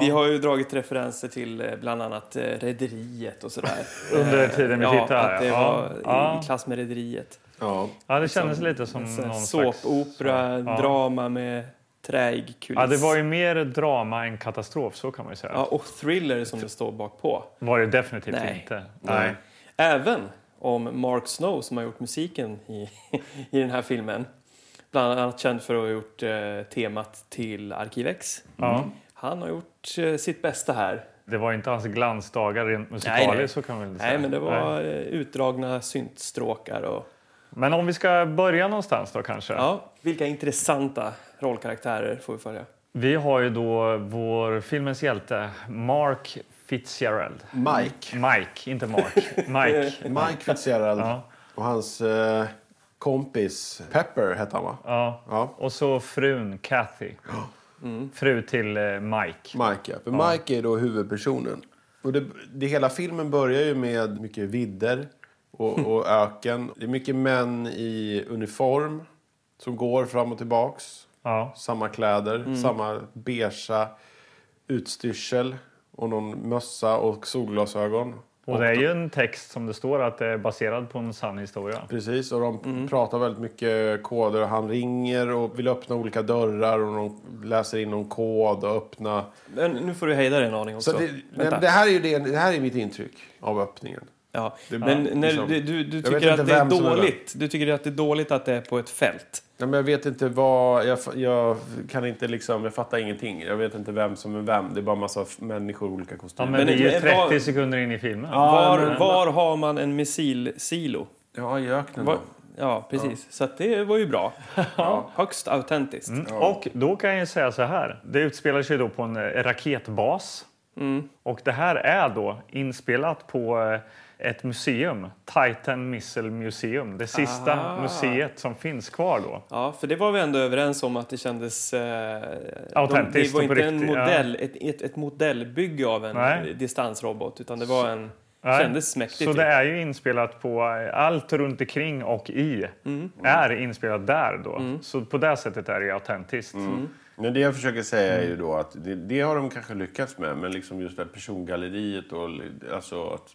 [SPEAKER 3] Vi har ju dragit referenser till eh, bland annat eh, Rederiet och sådär. Eh,
[SPEAKER 1] Under tiden vi
[SPEAKER 3] ja,
[SPEAKER 1] tittar här.
[SPEAKER 3] att det
[SPEAKER 1] ja.
[SPEAKER 3] var i,
[SPEAKER 1] ja.
[SPEAKER 3] i klass med Rederiet.
[SPEAKER 2] Ja.
[SPEAKER 1] ja, det kändes lite som
[SPEAKER 3] Så här
[SPEAKER 1] någon slags...
[SPEAKER 3] liksom Såpopera,
[SPEAKER 1] ja.
[SPEAKER 3] drama med träig kuliss.
[SPEAKER 1] Ja, det var ju mer drama än katastrof, så kan man ju säga.
[SPEAKER 3] Ja, och thriller som det står bakpå.
[SPEAKER 1] Var det definitivt
[SPEAKER 3] Nej.
[SPEAKER 1] inte.
[SPEAKER 2] Nej.
[SPEAKER 3] Även om Mark Snow som har gjort musiken i, i den här filmen, bland annat känd för att ha gjort eh, temat till Arkiv X.
[SPEAKER 1] Ja.
[SPEAKER 3] Han har gjort eh, sitt bästa här.
[SPEAKER 1] Det var ju inte hans glansdagar rent
[SPEAKER 3] Nej, nej.
[SPEAKER 1] musikaliskt, så kan man väl säga.
[SPEAKER 3] Nej, men det
[SPEAKER 1] Nej.
[SPEAKER 3] var eh, utdragna syntstråkar och
[SPEAKER 1] Men om vi ska börja någonstans då kanske.
[SPEAKER 3] ja, vilka intressanta rollkaraktärer får vi följa.
[SPEAKER 1] Vi har ju då vår filmens hjälte, Mark Fitzgerald.
[SPEAKER 2] Mike.
[SPEAKER 1] Mike, inte Mark. Mike.
[SPEAKER 2] Mike Fitzgerald
[SPEAKER 1] Ja.
[SPEAKER 2] och hans eh, kompis Pepper hette han va?
[SPEAKER 1] Ja.
[SPEAKER 2] Ja.
[SPEAKER 1] Och så frun Kathy.
[SPEAKER 3] Mm.
[SPEAKER 1] Fru till eh, Mike.
[SPEAKER 2] Mike ja. För Mike är då huvudpersonen. Och det, det, hela filmen börjar ju med mycket vidder och, och öken. Det är mycket män i uniform som går fram och tillbaks.
[SPEAKER 1] Ja.
[SPEAKER 2] Samma kläder,
[SPEAKER 1] Mm.
[SPEAKER 2] samma beigea utstyrsel och någon mössa och solglasögon.
[SPEAKER 1] Och det är ju en text som det står att det är baserad på en sann historia.
[SPEAKER 2] Precis, och de pratar väldigt mycket koder. och Han ringer och vill öppna olika dörrar och de läser in någon kod och öppna.
[SPEAKER 3] Men nu får du hejda dig en aning också.
[SPEAKER 2] Så det, nej,
[SPEAKER 3] Vänta.
[SPEAKER 2] men det, här är ju det, det här är mitt intryck av öppningen.
[SPEAKER 3] Ja.
[SPEAKER 2] Det-
[SPEAKER 3] men
[SPEAKER 2] ja,
[SPEAKER 3] när,
[SPEAKER 2] liksom.
[SPEAKER 3] du, du, du
[SPEAKER 2] Jag
[SPEAKER 3] tycker
[SPEAKER 2] vet
[SPEAKER 3] att
[SPEAKER 2] inte
[SPEAKER 3] det är
[SPEAKER 2] vem som är
[SPEAKER 3] dåligt. Du tycker att det är dåligt att det är på ett fält.
[SPEAKER 2] Ja, men jag vet inte vad... Jag, fa- jag kan inte liksom... Jag fattar ingenting. Jag vet inte vem som är vem. Det är bara massa f- människor i olika
[SPEAKER 1] Ja,
[SPEAKER 2] kostymer.
[SPEAKER 1] men,
[SPEAKER 3] Men-
[SPEAKER 1] vi är
[SPEAKER 3] men
[SPEAKER 1] 30
[SPEAKER 3] vad-
[SPEAKER 1] sekunder in i filmen.
[SPEAKER 3] var,
[SPEAKER 2] men-
[SPEAKER 3] var har man en missilsilo?
[SPEAKER 2] Ja, i öknen
[SPEAKER 3] Var,
[SPEAKER 2] då.
[SPEAKER 3] ja, precis. Så att det var ju bra. Högst autentiskt.
[SPEAKER 1] Och då kan jag ju säga så här. Det utspelar sig då på en eh, raketbas.
[SPEAKER 3] Mm.
[SPEAKER 1] Och det här är då inspelat på eh, ett museum, Titan Missile Museum. Det sista museet som finns kvar då.
[SPEAKER 3] Ja, för det var vi ändå överens om att det kändes... Eh,
[SPEAKER 1] Autentiskt
[SPEAKER 3] de-
[SPEAKER 1] och på
[SPEAKER 3] Det var inte en
[SPEAKER 1] riktigt, ja.
[SPEAKER 3] modell, ett, ett, ett modellbygge av en
[SPEAKER 1] Nej.
[SPEAKER 3] distansrobot, utan det var en...
[SPEAKER 1] Nej.
[SPEAKER 3] Kändes mäktigt.
[SPEAKER 1] Så
[SPEAKER 3] ju.
[SPEAKER 1] det är ju inspelat på eh, allt runt omkring och i
[SPEAKER 3] Mm.
[SPEAKER 1] är inspelat där då. Så på det sättet är det ju autentiskt.
[SPEAKER 3] Mm.
[SPEAKER 2] Men det jag försöker säga
[SPEAKER 1] Mm.
[SPEAKER 2] är ju då att det, det har de kanske lyckats med, men liksom just det här persongalleriet och li- alltså att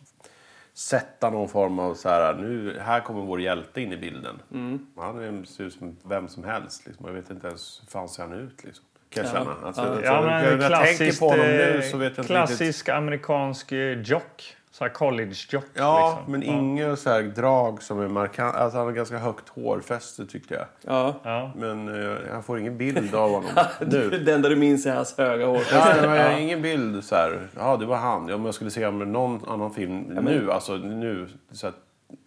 [SPEAKER 2] sätta någon form av så här, nu, här kommer vår hjälte in i bilden.
[SPEAKER 1] Mm.
[SPEAKER 2] Han är- ser ut som vem som helst, liksom. jag vet inte ens hur fan ser han ut liksom. Kan jag känna. Alltså, alltså,
[SPEAKER 1] Ja, men
[SPEAKER 2] när jag tänker
[SPEAKER 1] klassiskt, liksom.
[SPEAKER 2] på honom
[SPEAKER 1] eh,
[SPEAKER 2] nu så vet jag inte
[SPEAKER 1] klassisk
[SPEAKER 2] riktigt.
[SPEAKER 1] amerikansk eh, jock. Så här college-jock.
[SPEAKER 2] Ja,
[SPEAKER 1] liksom.
[SPEAKER 2] men inga så här drag som är markanta. Alltså, han har ganska högt hårfäste tyckte jag.
[SPEAKER 3] Ja.
[SPEAKER 1] Ja.
[SPEAKER 2] Men eh, jag får ingen bild av honom nu.
[SPEAKER 3] Det enda du minns är hans höga hår.
[SPEAKER 2] Ja, det var ingen bild så här. Ja, det var han. Ja, Om jag skulle se om det är någon annan film nu, alltså nu, så att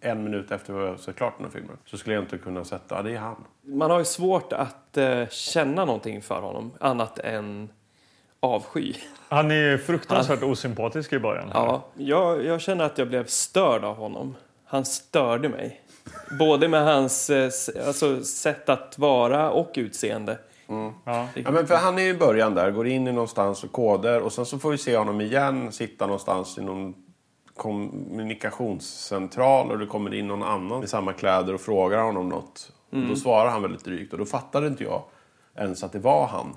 [SPEAKER 2] en minut efter jag sett klart den här filmen, så skulle jag inte kunna sätta, ja, det är han.
[SPEAKER 3] Man har ju svårt att eh, känna någonting för honom, annat än avsky.
[SPEAKER 1] Han är ju fruktansvärt osympatisk i början. här.
[SPEAKER 3] Alltså, Ja, jag, jag känner att jag blev störd av honom. Han störde mig. Både med hans eh, s- alltså, sätt att vara och utseende.
[SPEAKER 2] Ja, men för han är ju i början där, går in i någonstans och koder och sen så får vi se honom igen sitta någonstans i någon kommunikationscentral och det kommer in någon annan i samma kläder och frågar honom något. Då svarar han väldigt drygt och då fattade inte jag ens att det var han.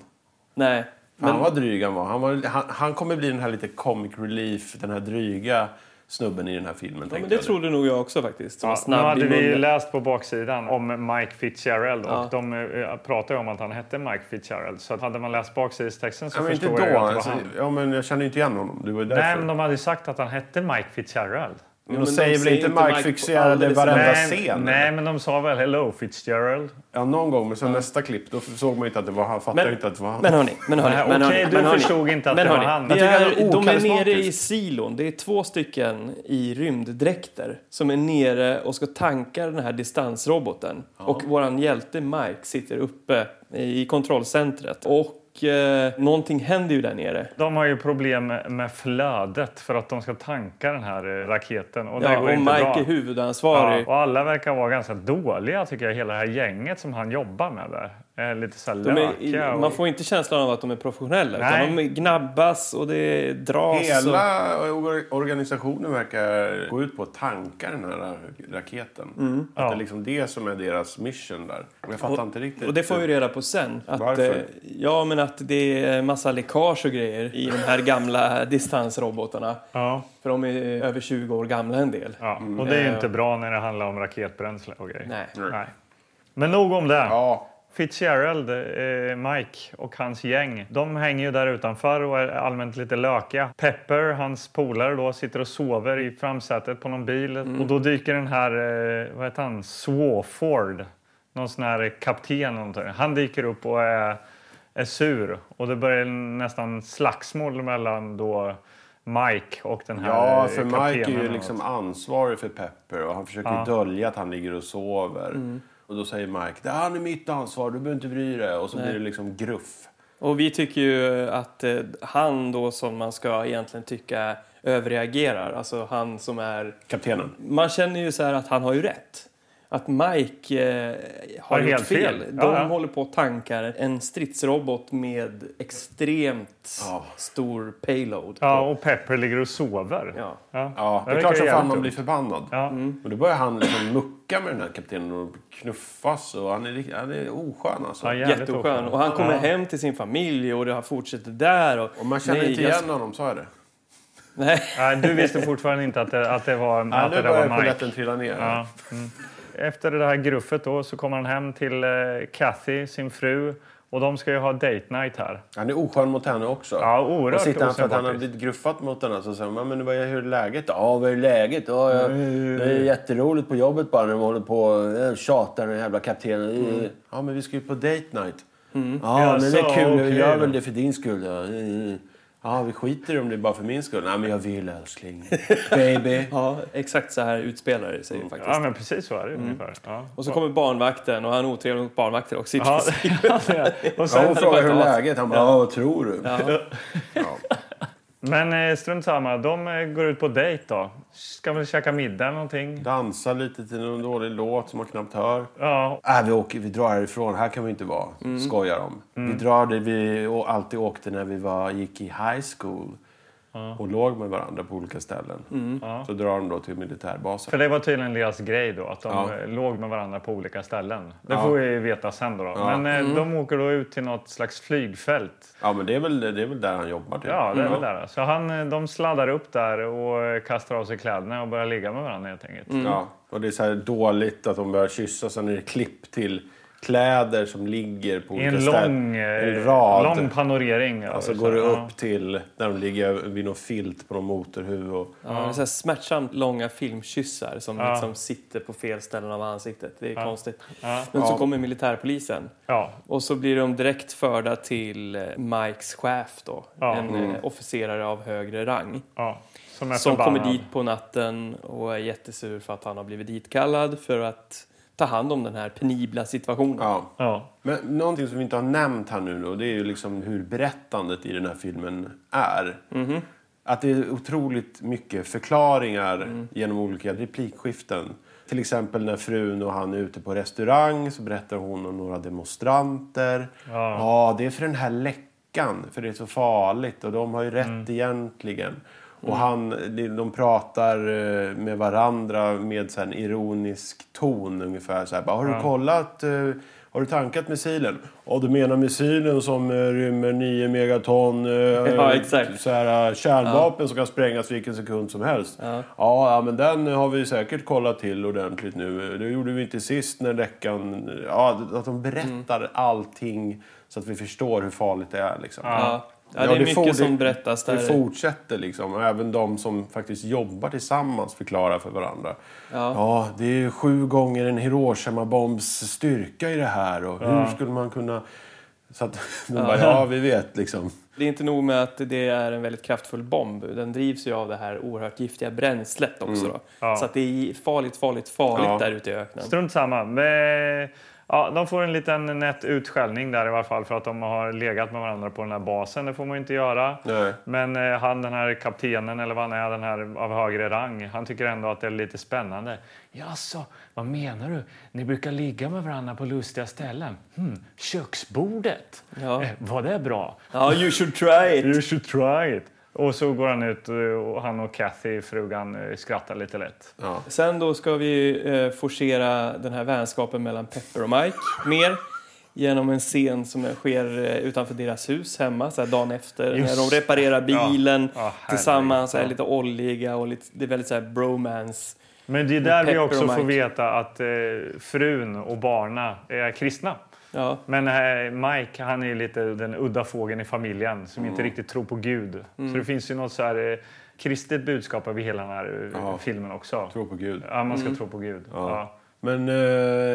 [SPEAKER 3] Nej,
[SPEAKER 2] Han var dryg han var. Han, var han, han kommer bli den här lite comic relief, den här dryga snubben i den här filmen.
[SPEAKER 3] ja, men
[SPEAKER 2] tänkte
[SPEAKER 3] det
[SPEAKER 2] jag.
[SPEAKER 3] trodde nog jag också faktiskt. Som var
[SPEAKER 1] Ja, nu
[SPEAKER 3] snabb
[SPEAKER 1] hade
[SPEAKER 3] i
[SPEAKER 1] vi ju
[SPEAKER 3] munnen.
[SPEAKER 1] läst på baksidan om Mike Fitzgerald och de eh, pratade om att han hette Mike Fitzgerald. Så att hade man läst baksidestexten så
[SPEAKER 2] Ja, men inte
[SPEAKER 1] förstår
[SPEAKER 2] då.
[SPEAKER 1] jag ju att det var
[SPEAKER 2] alltså,
[SPEAKER 1] han.
[SPEAKER 2] ja, men jag kände ju inte igen honom. Det var ju
[SPEAKER 1] Nej,
[SPEAKER 2] därför.
[SPEAKER 1] men
[SPEAKER 2] men
[SPEAKER 1] de hade ju sagt att han hette Mike Fitzgerald.
[SPEAKER 2] de,
[SPEAKER 3] men de
[SPEAKER 2] säger väl
[SPEAKER 3] säger
[SPEAKER 2] inte
[SPEAKER 3] inte
[SPEAKER 2] Mike
[SPEAKER 3] Mike på
[SPEAKER 2] Fitzgerald i
[SPEAKER 3] alldeles-
[SPEAKER 2] varenda
[SPEAKER 1] Nej,
[SPEAKER 2] scen?
[SPEAKER 1] nej, men de sa väl hello Fitzgerald.
[SPEAKER 2] Ja, någon gång, men sen nästa klipp, då såg man ju inte att det var han. Fattade
[SPEAKER 3] Men-
[SPEAKER 2] jag inte att det var han.
[SPEAKER 3] Men hörni, men hörni,
[SPEAKER 1] Nej,
[SPEAKER 3] men
[SPEAKER 1] okej,
[SPEAKER 3] hörni,
[SPEAKER 1] du
[SPEAKER 3] men hörni.
[SPEAKER 1] förstod inte att
[SPEAKER 3] men
[SPEAKER 1] det var
[SPEAKER 3] hörni,
[SPEAKER 1] han.
[SPEAKER 3] Vi
[SPEAKER 1] Jag tycker
[SPEAKER 2] han är
[SPEAKER 3] är, de är nere i
[SPEAKER 2] okarismatisk.
[SPEAKER 3] silon. Det är två stycken i rymddräkter som är nere och ska tanka den här distansroboten. Och våran hjälte Mike sitter uppe i kontrollcentret. Och eh, någonting händer ju där nere.
[SPEAKER 1] De har ju problem med flödet för att de ska tanka den här eh, raketen. Och det
[SPEAKER 3] Ja,
[SPEAKER 1] går
[SPEAKER 3] och Mike
[SPEAKER 1] inte bra.
[SPEAKER 3] är huvudansvarig.
[SPEAKER 1] Ja, och alla verkar vara ganska dåliga tycker jag, hela det här gänget som han jobbar med där. Eh, Lite så här
[SPEAKER 3] De är,
[SPEAKER 1] lökiga och-
[SPEAKER 3] Man får inte känslan av att de är professionella.
[SPEAKER 1] Nej.
[SPEAKER 3] Utan de gnabbas och det dras. och...
[SPEAKER 2] Hela or- organisationen verkar gå ut på att tanka den här ra- raketen. Att det är liksom det som är deras mission där. Och Jag fattar inte riktigt.
[SPEAKER 3] Och det får vi reda på sen. Att,
[SPEAKER 2] Varför?
[SPEAKER 3] eh, Ja, men att det är massa läckage och grejer i de här gamla distansrobotarna.
[SPEAKER 1] Ja.
[SPEAKER 3] För de är över 20 år gamla en del.
[SPEAKER 1] Ja, och det är ju inte bra när det handlar om raketbränsle och grejer.
[SPEAKER 3] Mm. Nej.
[SPEAKER 1] Nej. Men nog om det.
[SPEAKER 2] Ja,
[SPEAKER 1] Fitzgerald, eh, Mike och hans gäng, de hänger ju där utanför och är allmänt lite lökiga. Pepper, hans polare då, sitter och sover i framsätet på någon bil
[SPEAKER 2] Mm.
[SPEAKER 1] och då dyker den här, eh, vad heter han, Swawford, någon sån här kapten någonting. Han dyker upp och är, är sur och det börjar nästan slagsmål mellan då Mike och den här
[SPEAKER 2] Ja,
[SPEAKER 1] eh,
[SPEAKER 2] för Mike
[SPEAKER 1] kaptenen
[SPEAKER 2] är ju
[SPEAKER 1] då.
[SPEAKER 2] liksom ansvarig för Pepper och han försöker ju dölja att han ligger och sover.
[SPEAKER 1] Mm.
[SPEAKER 2] Och då säger Mike, det här är mitt ansvar, du behöver inte bry dig. Och så blir det liksom gruff.
[SPEAKER 3] Och vi tycker ju att eh, han då som man ska egentligen tycka överreagerar. Alltså han som är...
[SPEAKER 2] Kaptenen.
[SPEAKER 3] Man känner ju så här att han har ju rätt. Att Mike eh, har,
[SPEAKER 1] Har
[SPEAKER 3] gjort
[SPEAKER 1] helt fel.
[SPEAKER 3] fel. De
[SPEAKER 1] Ja, ja.
[SPEAKER 3] håller på och tankar en stridsrobot med extremt
[SPEAKER 2] Ja.
[SPEAKER 3] stor payload.
[SPEAKER 1] Ja, och Pepper ligger och sover.
[SPEAKER 3] Ja.
[SPEAKER 2] Ja, det är
[SPEAKER 1] verkar
[SPEAKER 2] klart som fan
[SPEAKER 1] jävligt
[SPEAKER 2] man
[SPEAKER 1] dumt.
[SPEAKER 2] blir förbannad.
[SPEAKER 1] Ja.
[SPEAKER 2] Och då börjar han liksom mucka med den här kaptenen och knuffas och han är, rikt- han är oskön alltså.
[SPEAKER 1] Ja, jävligt
[SPEAKER 3] Jätteoskön.
[SPEAKER 1] oskön.
[SPEAKER 3] Och han kommer
[SPEAKER 1] Ja.
[SPEAKER 3] hem till sin familj och det har fortsätter där. Och,
[SPEAKER 2] Och man känner
[SPEAKER 3] Nej,
[SPEAKER 2] inte
[SPEAKER 3] jag-
[SPEAKER 2] igen honom, sa jag det?
[SPEAKER 3] Nej.
[SPEAKER 1] Nej, du visste fortfarande inte att det, att det var,
[SPEAKER 2] Ja,
[SPEAKER 1] att
[SPEAKER 2] nu
[SPEAKER 1] det
[SPEAKER 2] börjar
[SPEAKER 1] var
[SPEAKER 2] polletten
[SPEAKER 1] Mike.
[SPEAKER 2] trilla ner.
[SPEAKER 1] Ja. mm. Efter det här gruffet då, så kommer han hem till eh, Kathy, sin fru. Och de ska ju ha date night här.
[SPEAKER 2] Han är oskön mot henne också.
[SPEAKER 1] Ja, oerhört
[SPEAKER 2] Och sitter han för att han har
[SPEAKER 1] osympatisk.
[SPEAKER 2] blivit gruffat mot henne så säger man, men vad är, hur är läget? Ja, vad är läget? Ja, jag,
[SPEAKER 1] Mm.
[SPEAKER 2] det är jätteroligt på jobbet bara när de håller på och tjatar den jävla kaptenen.
[SPEAKER 1] Mm.
[SPEAKER 2] Eh, Ja, men vi ska ju på date night. Ja,
[SPEAKER 1] Ja,
[SPEAKER 2] men det
[SPEAKER 1] så,
[SPEAKER 2] är kul.
[SPEAKER 1] Mm. okej
[SPEAKER 2] Vi gör
[SPEAKER 1] då."
[SPEAKER 2] väl det för din skull. Ja, Mm. ja vi skiter i om det är bara för min skull. Nej, men jag vill älskling. Baby.
[SPEAKER 3] Ja, exakt så här utspelar det sig faktiskt.
[SPEAKER 1] Mm, Ja, men precis så är det
[SPEAKER 2] Mm.
[SPEAKER 1] ju ungefär. Ja.
[SPEAKER 3] Och så kommer barnvakten och han är otrevlig mot barnvakten också. i
[SPEAKER 1] Ja,
[SPEAKER 3] princip.
[SPEAKER 1] det är- och
[SPEAKER 2] Ja,
[SPEAKER 1] sen,
[SPEAKER 2] hon frågar hur
[SPEAKER 3] bara
[SPEAKER 2] är
[SPEAKER 3] ta-
[SPEAKER 2] läget Han bara, ja, vad tror du?
[SPEAKER 1] men eh, strunt samma, de eh, går ut på dejt då. Ska väl käka middag eller någonting.
[SPEAKER 2] Dansa lite till någon dålig låt som man knappt hör.
[SPEAKER 1] Ja,
[SPEAKER 2] Äh, vi, åker, vi drar härifrån, här kan vi inte vara.
[SPEAKER 1] Mm.
[SPEAKER 2] Skojar de. Vi drar det vi å- alltid åkte när vi var, gick i high school och låg med varandra på olika ställen. Så drar de då till militärbasen.
[SPEAKER 1] Mm. för det var tydligen deras grej då, att de
[SPEAKER 2] Ja.
[SPEAKER 1] eh, låg med varandra på olika ställen. Det får vi veta sen då. då.
[SPEAKER 2] Ja. Mm.
[SPEAKER 1] Men eh, de åker då ut till något slags flygfält
[SPEAKER 2] Ja, men det är, väl, det är väl där han jobbar typ.
[SPEAKER 1] Ja, det är väl där. Så han, eh, de sladdar upp där och eh, kastar av sig kläderna och börjar ligga med varandra helt enkelt.
[SPEAKER 2] Ja. Och det är så här dåligt att de börjar kyssa, sen är det klipp till kläder som ligger på
[SPEAKER 1] I
[SPEAKER 2] olika
[SPEAKER 1] en
[SPEAKER 2] ställen.
[SPEAKER 1] lång,
[SPEAKER 2] en
[SPEAKER 1] eh,
[SPEAKER 2] rad.
[SPEAKER 1] lång panorering.
[SPEAKER 2] och så går det upp till när de ligger vid någon filt på någon motorhuv. Och,
[SPEAKER 3] Ja, det är så här smärtsamt långa filmkyssar som liksom sitter på fel ställen av ansiktet. Det är konstigt. Men så kommer militärpolisen.
[SPEAKER 1] Ja.
[SPEAKER 3] Och så blir de direkt förda till eh, Mikes chef då.
[SPEAKER 1] Ja.
[SPEAKER 3] En eh, officerare av högre rang.
[SPEAKER 1] Ja, ja. Som är
[SPEAKER 3] Som
[SPEAKER 1] förbannad.
[SPEAKER 3] kommer dit på natten och är jättesur för att han har blivit ditkallad för att ta hand om den här penibla situationen.
[SPEAKER 2] ja.
[SPEAKER 1] Ja.
[SPEAKER 2] Men någonting som vi inte har nämnt här nu då, det är ju liksom hur berättandet i den här filmen är. Att det är otroligt mycket förklaringar genom olika replikskiften. Till exempel när frun och han är ute på restaurang så berättar hon om några demonstranter. Ja, det är för den här läckan, för det är så farligt och de har ju rätt egentligen. Och han, de- de pratar eh, med varandra med så här en ironisk ton ungefär. Så här, bara, har du kollat? eh, Har du tankat missilen? Ja, du menar missilen som eh, rymmer 9 megaton eh,
[SPEAKER 3] Ja, exakt.
[SPEAKER 2] så här, eh, kärnvapen som kan sprängas vilken sekund som helst. Ja. Ja, men den har vi säkert kollat till ordentligt nu. Det gjorde vi inte sist när läckan... Ja, att de berättar
[SPEAKER 3] Mm.
[SPEAKER 2] allting så att vi förstår hur farligt det är. Liksom.
[SPEAKER 3] Ja. Ja, det är mycket som berättas där.
[SPEAKER 2] Det fortsätter liksom. Och Även de som faktiskt jobbar tillsammans förklarar för varandra. Ja, det är sju gånger en Hiroshima-bombs styrka i det här. Och hur skulle man kunna... Så att de bara, ja vi vet liksom.
[SPEAKER 3] Det är inte nog med att det är en väldigt kraftfull bomb. Den drivs ju av det här oerhört giftiga bränslet också. Då. Så att det är farligt, farligt, farligt
[SPEAKER 2] Mm. Ja.
[SPEAKER 3] där ute i öknen.
[SPEAKER 1] Strunt samma. Men, ja, de får en liten nätt utskällning där i varje fall för att de har legat med varandra på den här basen. Det får man ju inte göra.
[SPEAKER 2] Nej.
[SPEAKER 1] Men eh, han, den här kaptenen eller vad han är, den här av högre rang, han tycker ändå att det är lite spännande. Jaså, vad menar du? Ni brukar ligga med varandra på lustiga ställen? Hmm, köksbordet?
[SPEAKER 3] Ja.
[SPEAKER 1] Eh, var det bra?
[SPEAKER 3] Ja, you should try it!
[SPEAKER 1] You should try it. Och så går han ut eh, och han och Kathy, frugan, eh, skrattar lite lätt.
[SPEAKER 3] Sen då ska vi eh, forcera den här vänskapen mellan Pepper och Mike mer genom en scen som sker eh, utanför deras hus hemma så här dagen efter när de reparerar bilen
[SPEAKER 1] Ja, herregud.
[SPEAKER 3] tillsammans, är
[SPEAKER 1] Ja.
[SPEAKER 3] lite oljiga och lite, det är väldigt så här bromance.
[SPEAKER 1] Men det är där vi
[SPEAKER 3] Pepper
[SPEAKER 1] också
[SPEAKER 3] och
[SPEAKER 1] får
[SPEAKER 3] Mike.
[SPEAKER 1] veta att eh, frun och barna är kristna.
[SPEAKER 3] Ja.
[SPEAKER 1] Men eh, Mike, han är ju lite den udda fågeln i familjen som
[SPEAKER 2] Mm.
[SPEAKER 1] inte riktigt tror på Gud. Så det finns ju något så här eh, kristet budskap över hela den här eh, filmen också.
[SPEAKER 2] Tro på Mm. Gud.
[SPEAKER 1] Ja, man ska tro på Gud. Ja.
[SPEAKER 2] Men eh,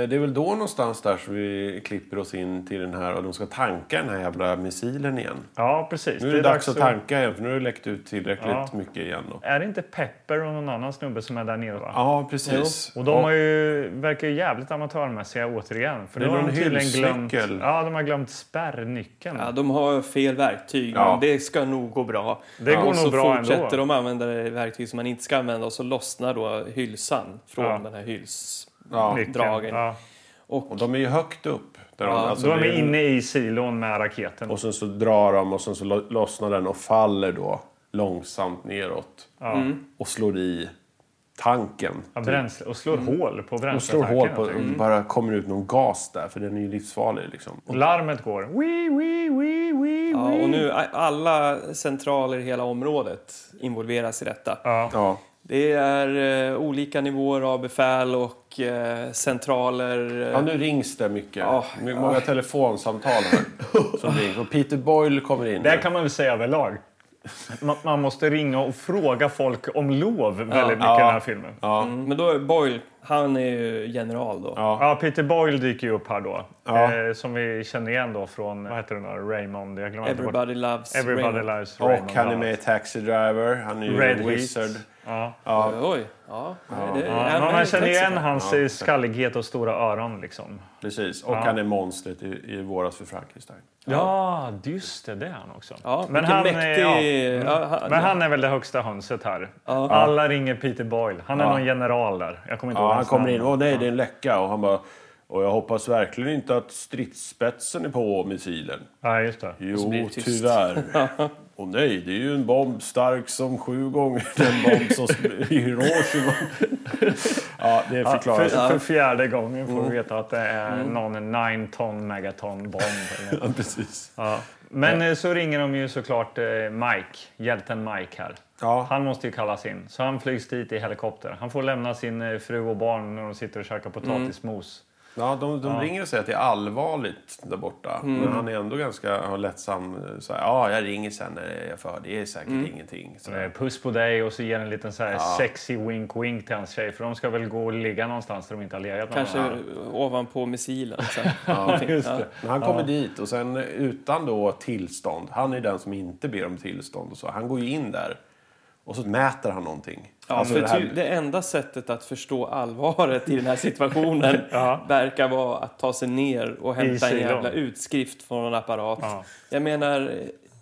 [SPEAKER 2] det är väl då någonstans där som vi klipper oss in till den här och de ska tanka den här jävla missilen igen.
[SPEAKER 1] Ja, precis.
[SPEAKER 2] Nu är det, dags att tanka igen för nu har det läckt ut tillräckligt
[SPEAKER 1] Ja.
[SPEAKER 2] mycket igen. Då.
[SPEAKER 1] Är det inte Pepper och någon annan snubbe som är där nere? Va?
[SPEAKER 2] Ja, precis.
[SPEAKER 1] Och de har ju, verkar ju jävligt amatörmässiga återigen. För
[SPEAKER 2] Det
[SPEAKER 1] nu
[SPEAKER 2] är
[SPEAKER 1] har de
[SPEAKER 2] någon
[SPEAKER 1] tydligen glömt,
[SPEAKER 2] hylsnyckel.
[SPEAKER 1] ja, de har glömt spärrnyckeln.
[SPEAKER 3] Ja, de har fel verktyg,
[SPEAKER 2] Ja.
[SPEAKER 3] men det ska nog gå bra.
[SPEAKER 1] Det går
[SPEAKER 3] och så
[SPEAKER 1] nog bra
[SPEAKER 3] fortsätter
[SPEAKER 1] ändå.
[SPEAKER 3] de använda det verktyg som man inte ska använda och så lossnar då hylsan från
[SPEAKER 1] Ja.
[SPEAKER 3] den här hyls...
[SPEAKER 2] Ja.
[SPEAKER 1] Nyckeln.
[SPEAKER 3] dragen.
[SPEAKER 1] Ja.
[SPEAKER 2] Och de är ju högt upp. Där de,
[SPEAKER 3] Ja,
[SPEAKER 2] alltså,
[SPEAKER 1] Då är
[SPEAKER 2] det
[SPEAKER 1] de
[SPEAKER 2] är-
[SPEAKER 1] inne i silon med raketen.
[SPEAKER 2] Och sen så drar de och sen så lo- lossnar den och faller då långsamt neråt.
[SPEAKER 3] Mm.
[SPEAKER 2] Och slår i tanken.
[SPEAKER 1] Ja, bränsle, och slår hål på
[SPEAKER 2] Mm. Och slår
[SPEAKER 1] bränsleattacken.
[SPEAKER 2] hål på
[SPEAKER 1] jag
[SPEAKER 2] och
[SPEAKER 1] tycker.
[SPEAKER 2] bara kommer ut någon gas där för den är ju livsfarlig liksom. Och
[SPEAKER 1] Larmet går. Wee, wee, wee, wee,
[SPEAKER 3] Ja,
[SPEAKER 1] wee.
[SPEAKER 3] och nu är alla centraler i hela området involveras i detta.
[SPEAKER 1] Ja.
[SPEAKER 2] Ja.
[SPEAKER 3] Det är eh, olika nivåer av befäl och eh, centraler. eh,
[SPEAKER 2] Ja, nu rings det mycket.
[SPEAKER 3] Ja,
[SPEAKER 2] My-
[SPEAKER 3] ja.
[SPEAKER 2] Många telefonsamtal här som rings. Och Peter Boyle kommer in.
[SPEAKER 1] Det här kan man väl säga överlag. Man, man måste ringa och fråga folk om lov väldigt mycket i den här filmen. Ja.
[SPEAKER 3] Men då är Boyle, han är ju general då.
[SPEAKER 1] Peter Boyle dyker ju upp här då.
[SPEAKER 2] Ja.
[SPEAKER 1] Eh, som vi känner igen då från, vad heter den där, Raymond? Jag glömmer inte bort-
[SPEAKER 3] Everybody loves
[SPEAKER 1] Everybody
[SPEAKER 3] Raymond.
[SPEAKER 1] Loves Raymond.
[SPEAKER 2] Och han är
[SPEAKER 1] bland
[SPEAKER 2] med i
[SPEAKER 1] annat.
[SPEAKER 2] Taxi Driver. Han är ju
[SPEAKER 1] Red
[SPEAKER 2] en
[SPEAKER 1] Heat.
[SPEAKER 2] wizard.
[SPEAKER 1] Ja.
[SPEAKER 3] Oj, ja. Det,
[SPEAKER 1] Ja,
[SPEAKER 3] han-
[SPEAKER 1] men
[SPEAKER 3] han
[SPEAKER 1] man
[SPEAKER 3] är
[SPEAKER 1] känner
[SPEAKER 3] texten.
[SPEAKER 1] igen hans eh, skallighet och stora öron liksom.
[SPEAKER 2] Precis. Och han är monstret i, i Våras för Frankenstein.
[SPEAKER 1] Ja, just det. Det är han också.
[SPEAKER 3] Ja,
[SPEAKER 1] men,
[SPEAKER 3] vilken
[SPEAKER 1] han
[SPEAKER 3] mäktig...
[SPEAKER 1] är, ja.
[SPEAKER 3] ja, han,
[SPEAKER 1] men han är väl det högsta hönset här. Alla ringer Peter Boyle. Han är någon general där. Jag kommer inte ihåg
[SPEAKER 2] Ja, han
[SPEAKER 1] hans
[SPEAKER 2] kommer
[SPEAKER 1] namn.
[SPEAKER 2] in. Åh nej, det är en läcka. Och han bara... Och jag hoppas verkligen inte att stridsspetsen är på missilen.
[SPEAKER 1] Ja, just det.
[SPEAKER 3] så blir
[SPEAKER 2] Jo,
[SPEAKER 3] det tyst.
[SPEAKER 2] tyvärr. Och nej, det är ju en bomb stark som sju gånger den bomb som sp- i Hiroshima. ja, det
[SPEAKER 1] För,
[SPEAKER 2] förklarar
[SPEAKER 1] för fjärde gången får
[SPEAKER 3] Mm.
[SPEAKER 1] vi veta att det är någon 9 ton megaton bomb. eller något.
[SPEAKER 2] ja, precis.
[SPEAKER 1] ja. Men eh, så ringer de ju såklart eh, Mike, hjälten Mike här.
[SPEAKER 2] Ja.
[SPEAKER 1] Han måste ju kallas in, så han flygs dit i helikopter. Han får lämna sin eh, fru och barn när de sitter och käkar potatismos.
[SPEAKER 2] Ja, Mm. de de ringer och säger att det är allvarligt där borta. Men han är ändå ganska har lättsam. Så här, ja, jag ringer sen när jag är för. Det är säkert ingenting. Så
[SPEAKER 1] Eh, Puss på dig och så ger en liten så här sexy wink-wink till hans tjej. För de ska väl gå och ligga någonstans där de inte har legat någon
[SPEAKER 3] kanske
[SPEAKER 1] annan.
[SPEAKER 3] ovanpå missilen. Så. ja,
[SPEAKER 1] Just det.
[SPEAKER 2] Men han kommer dit och sen utan då tillstånd. Han är den som inte ber om tillstånd och så. Han går ju in där och så mäter han någonting.
[SPEAKER 3] Ja,
[SPEAKER 2] Alltså
[SPEAKER 3] för
[SPEAKER 2] det
[SPEAKER 3] det,
[SPEAKER 2] här-
[SPEAKER 3] ty, det enda sättet att förstå allvaret i den här situationen verkar vara att ta sig ner och hämta en
[SPEAKER 1] silon.
[SPEAKER 3] jävla utskrift från en apparat.
[SPEAKER 1] Ja.
[SPEAKER 3] Jag menar,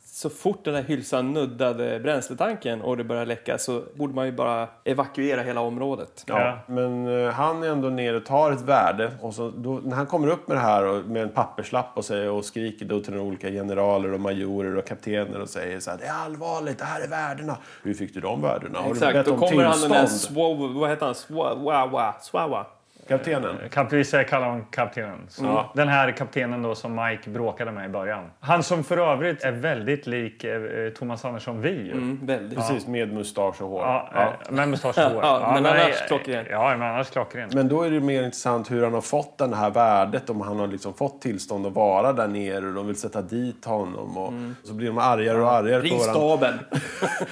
[SPEAKER 3] så fort den här hylsan nuddade bränsletanken och det började läcka så borde man ju bara evakuera hela området.
[SPEAKER 2] Ja, men eh, han är ändå nere och tar ett värde. Och så, då, när han kommer upp med det här och, med en papperslapp och, säger, och skriker då till de olika generaler och majorer och kaptener och säger så här, det är allvarligt, det här är värdena. Hur fick du de värdena? Har du
[SPEAKER 3] Exakt,
[SPEAKER 2] bett
[SPEAKER 3] då
[SPEAKER 2] om
[SPEAKER 3] kommer han den
[SPEAKER 2] tillstånd?
[SPEAKER 3] där swo, vad heter han? Swawa, swawa.
[SPEAKER 2] Kaptenen?
[SPEAKER 1] Kap, vi säger kalla honom kaptenen. Så Den här kaptenen då som Mike bråkade med i början. Han som för övrigt är väldigt lik eh, eh, Thomas Andersson Vi. ju.
[SPEAKER 3] Mm, väldigt.
[SPEAKER 2] Precis, med mustasch och hår.
[SPEAKER 1] Ja,
[SPEAKER 2] Ja.
[SPEAKER 1] eh, Med mustasch och hår.
[SPEAKER 3] Ja, men
[SPEAKER 1] eh,
[SPEAKER 3] annars klockren.
[SPEAKER 1] Ja, men annars klockren.
[SPEAKER 2] Men då är det mer intressant hur han har fått det här värdet, om han har liksom fått tillstånd att vara där nere och de vill sätta dit honom. Och Så blir de argare och argare på
[SPEAKER 3] Ring
[SPEAKER 2] varandra.
[SPEAKER 3] staben.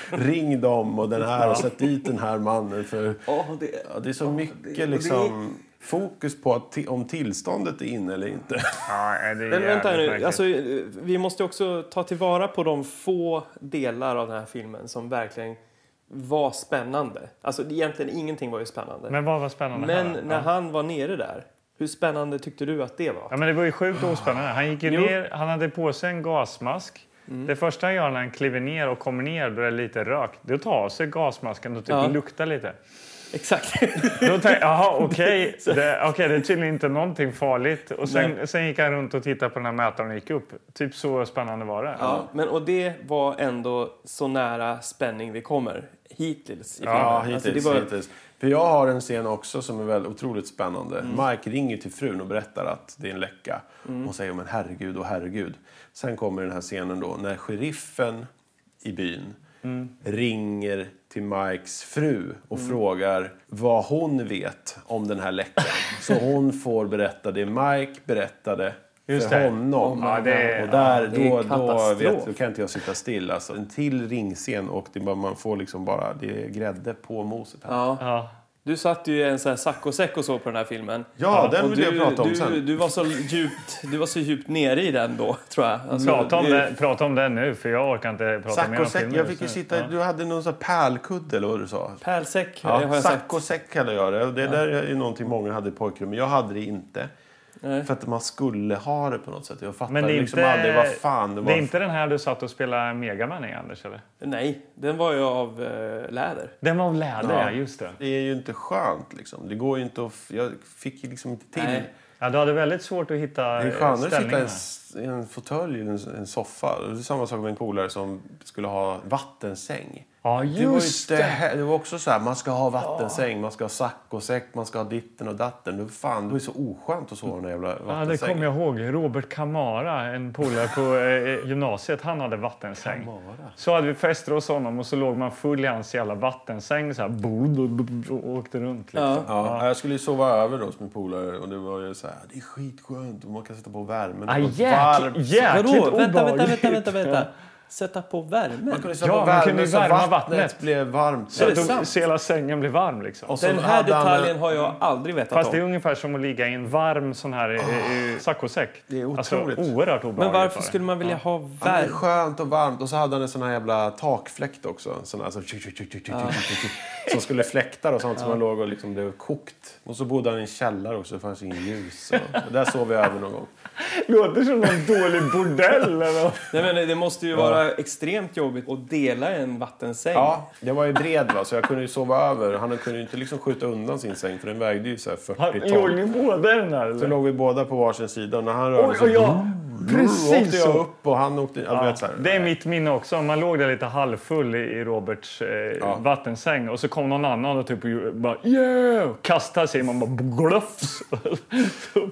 [SPEAKER 2] Ring dem och den här och sätt dit den här mannen. För
[SPEAKER 3] Ja, det-
[SPEAKER 2] Ja, det är så mycket liksom, fokus på att ti- om tillståndet är inne eller inte.
[SPEAKER 1] Ja, eh, det är
[SPEAKER 3] Men vänta
[SPEAKER 1] jävligt
[SPEAKER 3] nu,
[SPEAKER 1] märkligt.
[SPEAKER 3] alltså, eh, vi måste ju också ta tillvara på de få delar av den här filmen som verkligen var spännande. Alltså egentligen ingenting var ju spännande. Men,
[SPEAKER 1] Men vad var spännande här då?
[SPEAKER 3] när han var nere där, hur spännande tyckte du att det var?
[SPEAKER 1] Ja, men det var ju sjukt ospännande. Han gick ju
[SPEAKER 3] Jo.
[SPEAKER 1] ner, han hade på sig en gasmask.
[SPEAKER 2] Mm.
[SPEAKER 1] Det första han gör när han kliver ner och kommer ner då är det lite rök. Då tar av sig gasmasken och typ
[SPEAKER 3] Ja.
[SPEAKER 1] luktar lite.
[SPEAKER 3] Exakt.
[SPEAKER 1] Då tänkte jag, jaha okej, det, okej, det är tydligen inte någonting farligt. Och sen, sen gick han runt och tittade på den här mätaren och gick upp. Typ så spännande var det.
[SPEAKER 3] ja, men, och det var ändå så nära spänning vi kommer hittills i filmen.
[SPEAKER 2] Ja,
[SPEAKER 3] Alltså,
[SPEAKER 2] hittills,
[SPEAKER 3] det var,
[SPEAKER 2] hittills. För jag har en scen också som är väldigt otroligt spännande. Mike ringer till frun och berättar att det är en läcka. Hon säger men herregud och herregud. Sen kommer den här scenen då när sheriffen i byn ringer till Mikes fru och frågar vad hon vet om den här läckan. Så hon får berätta det Mike berättade
[SPEAKER 1] Just
[SPEAKER 2] för
[SPEAKER 1] det.
[SPEAKER 2] honom.
[SPEAKER 1] Ja, det är-
[SPEAKER 2] och där,
[SPEAKER 3] ja, det är
[SPEAKER 2] då, då,
[SPEAKER 3] katastrof.
[SPEAKER 2] vet, då kan inte jag sitta still. Alltså. En till ringscen och det är bara, man får liksom bara det är grädde på moset. Här.
[SPEAKER 3] ja.
[SPEAKER 1] Ja.
[SPEAKER 3] Du satt ju i en sån här saccosäck och så på den här filmen.
[SPEAKER 2] Ja, den
[SPEAKER 3] och
[SPEAKER 2] vill jag prata om
[SPEAKER 3] du,
[SPEAKER 2] sen.
[SPEAKER 3] Du var, så djupt, du var så djupt nere i den då, tror jag. Alltså,
[SPEAKER 1] Prata, om
[SPEAKER 3] det-
[SPEAKER 1] det, prata om det nu, för jag orkar inte prata mer
[SPEAKER 2] Sack
[SPEAKER 1] om
[SPEAKER 2] och säck.
[SPEAKER 1] filmen
[SPEAKER 2] Jag
[SPEAKER 1] just
[SPEAKER 2] fick ju
[SPEAKER 1] nu.
[SPEAKER 2] sitta...
[SPEAKER 1] Ja.
[SPEAKER 2] Du hade någon sån här pärlkudde eller vad du sa?
[SPEAKER 3] Pärlsäck, eh, det har
[SPEAKER 2] Ja,
[SPEAKER 3] jag
[SPEAKER 2] sack
[SPEAKER 3] sagt.
[SPEAKER 2] och säck kallar jag det. Det där är ju någonting många hade i pojkrummet. Jag hade det inte. För att man skulle ha det på något sätt. Jag fattade
[SPEAKER 1] Men det är,
[SPEAKER 2] liksom
[SPEAKER 1] inte,
[SPEAKER 2] aldrig vad fan det var.
[SPEAKER 1] är inte den här du satt och spelade Megaman i, Anders? Eller?
[SPEAKER 3] Nej, den var ju av eh, läder.
[SPEAKER 1] Den var av läder, ja. just det.
[SPEAKER 2] Det är ju inte skönt liksom. Det går ju inte att... f- Jag fick ju liksom inte till.
[SPEAKER 3] Nej.
[SPEAKER 1] Ja, du hade väldigt svårt att hitta
[SPEAKER 2] Det är
[SPEAKER 1] eh,
[SPEAKER 2] skönare att sitta i
[SPEAKER 1] ställningarna.
[SPEAKER 2] en, s- i en fåtölj eller en, s- en soffa. Det är samma sak med en polare som skulle ha vattensäng.
[SPEAKER 1] Ja,
[SPEAKER 2] Det var, ju
[SPEAKER 1] just
[SPEAKER 2] inte,
[SPEAKER 1] det.
[SPEAKER 2] he- det var också så här, man ska ha vattensäng, man ska ha saccosäck, man ska ha ditten och datten. Det, fan, det var ju så oskönt att sova i den där jävla
[SPEAKER 1] Ja, det
[SPEAKER 2] vattensängen.
[SPEAKER 1] kommer jag ihåg. Robert Camara, en polare på eh, gymnasiet, han hade vattensäng. Så hade vi fester hos honom och så låg man full i hans jävla vattensäng så här, bo, bo, bo, bo, och åkte runt. Liksom.
[SPEAKER 3] Ja.
[SPEAKER 2] Ja, jag skulle ju sova över då hos min polare och det var ju så här, det är skitskönt och man kan sätta på värmen.
[SPEAKER 1] Ah,
[SPEAKER 2] Det var
[SPEAKER 1] jäk,
[SPEAKER 2] varmt.
[SPEAKER 1] jäkligt
[SPEAKER 3] Vadå? Vänta, vänta,
[SPEAKER 1] obehagligt.
[SPEAKER 3] vänta, vänta, vänta. Sätta på värmen?
[SPEAKER 2] Man kunde sätta
[SPEAKER 1] Ja,
[SPEAKER 2] på
[SPEAKER 1] man kunde
[SPEAKER 2] värmen
[SPEAKER 1] ju
[SPEAKER 2] så
[SPEAKER 1] värma
[SPEAKER 2] vattnet,
[SPEAKER 1] vattnet.
[SPEAKER 2] blev varmt.
[SPEAKER 3] Så det-
[SPEAKER 1] Så
[SPEAKER 3] sant?
[SPEAKER 1] så hela sängen blev varm liksom.
[SPEAKER 2] och så
[SPEAKER 3] Den här
[SPEAKER 2] hade han en-
[SPEAKER 3] detaljen har jag aldrig vetat
[SPEAKER 1] Fast det är
[SPEAKER 3] om.
[SPEAKER 1] ungefär som att ligga i en varm sån här oh. saccosäck.
[SPEAKER 2] Ah. Det är
[SPEAKER 1] Alltså,
[SPEAKER 2] otroligt.
[SPEAKER 1] oerhört obehagligt.
[SPEAKER 3] Men
[SPEAKER 1] var
[SPEAKER 3] varför
[SPEAKER 1] det.
[SPEAKER 3] skulle man vilja ha
[SPEAKER 2] Ja, men det är
[SPEAKER 3] värme?
[SPEAKER 2] skönt och varmt. Och så hade han en sån här jävla takfläkt också. En sån här som, tjuk, tjuk, tjuk, tjuk, tjuk, tjuk, tjuk, som skulle fläkta då, sånt som man låg och liksom blev kokt. Och så bodde han i en källare också, det fanns inget ljus. Och, och där sov vi över någon gång.
[SPEAKER 1] Låter som någon dålig bordell. Eller? vad?
[SPEAKER 3] Nej, men det måste ju vara extremt jobbigt att dela en vattensäng.
[SPEAKER 2] Ja, det var ju bred va, så jag kunde ju sova över. Han kunde ju inte liksom skjuta undan sin säng för den vägde ju så här
[SPEAKER 1] Han
[SPEAKER 2] 40
[SPEAKER 1] låg
[SPEAKER 2] ton.
[SPEAKER 1] ni båda i den här?
[SPEAKER 2] Så
[SPEAKER 1] Eller?
[SPEAKER 2] låg vi båda på varsin sida och när han rörde
[SPEAKER 1] Oj,
[SPEAKER 2] sig
[SPEAKER 1] och jag,
[SPEAKER 2] så åkte
[SPEAKER 1] precis
[SPEAKER 2] jag
[SPEAKER 1] så.
[SPEAKER 2] upp och han åkte... Ja, du vet, så här.
[SPEAKER 1] Det är mitt minne också. Man låg där lite halvfull i, i Roberts eh, vattensäng och så kom någon annan och typ och gjorde- bara yeah! kastade sig man bara glöfs.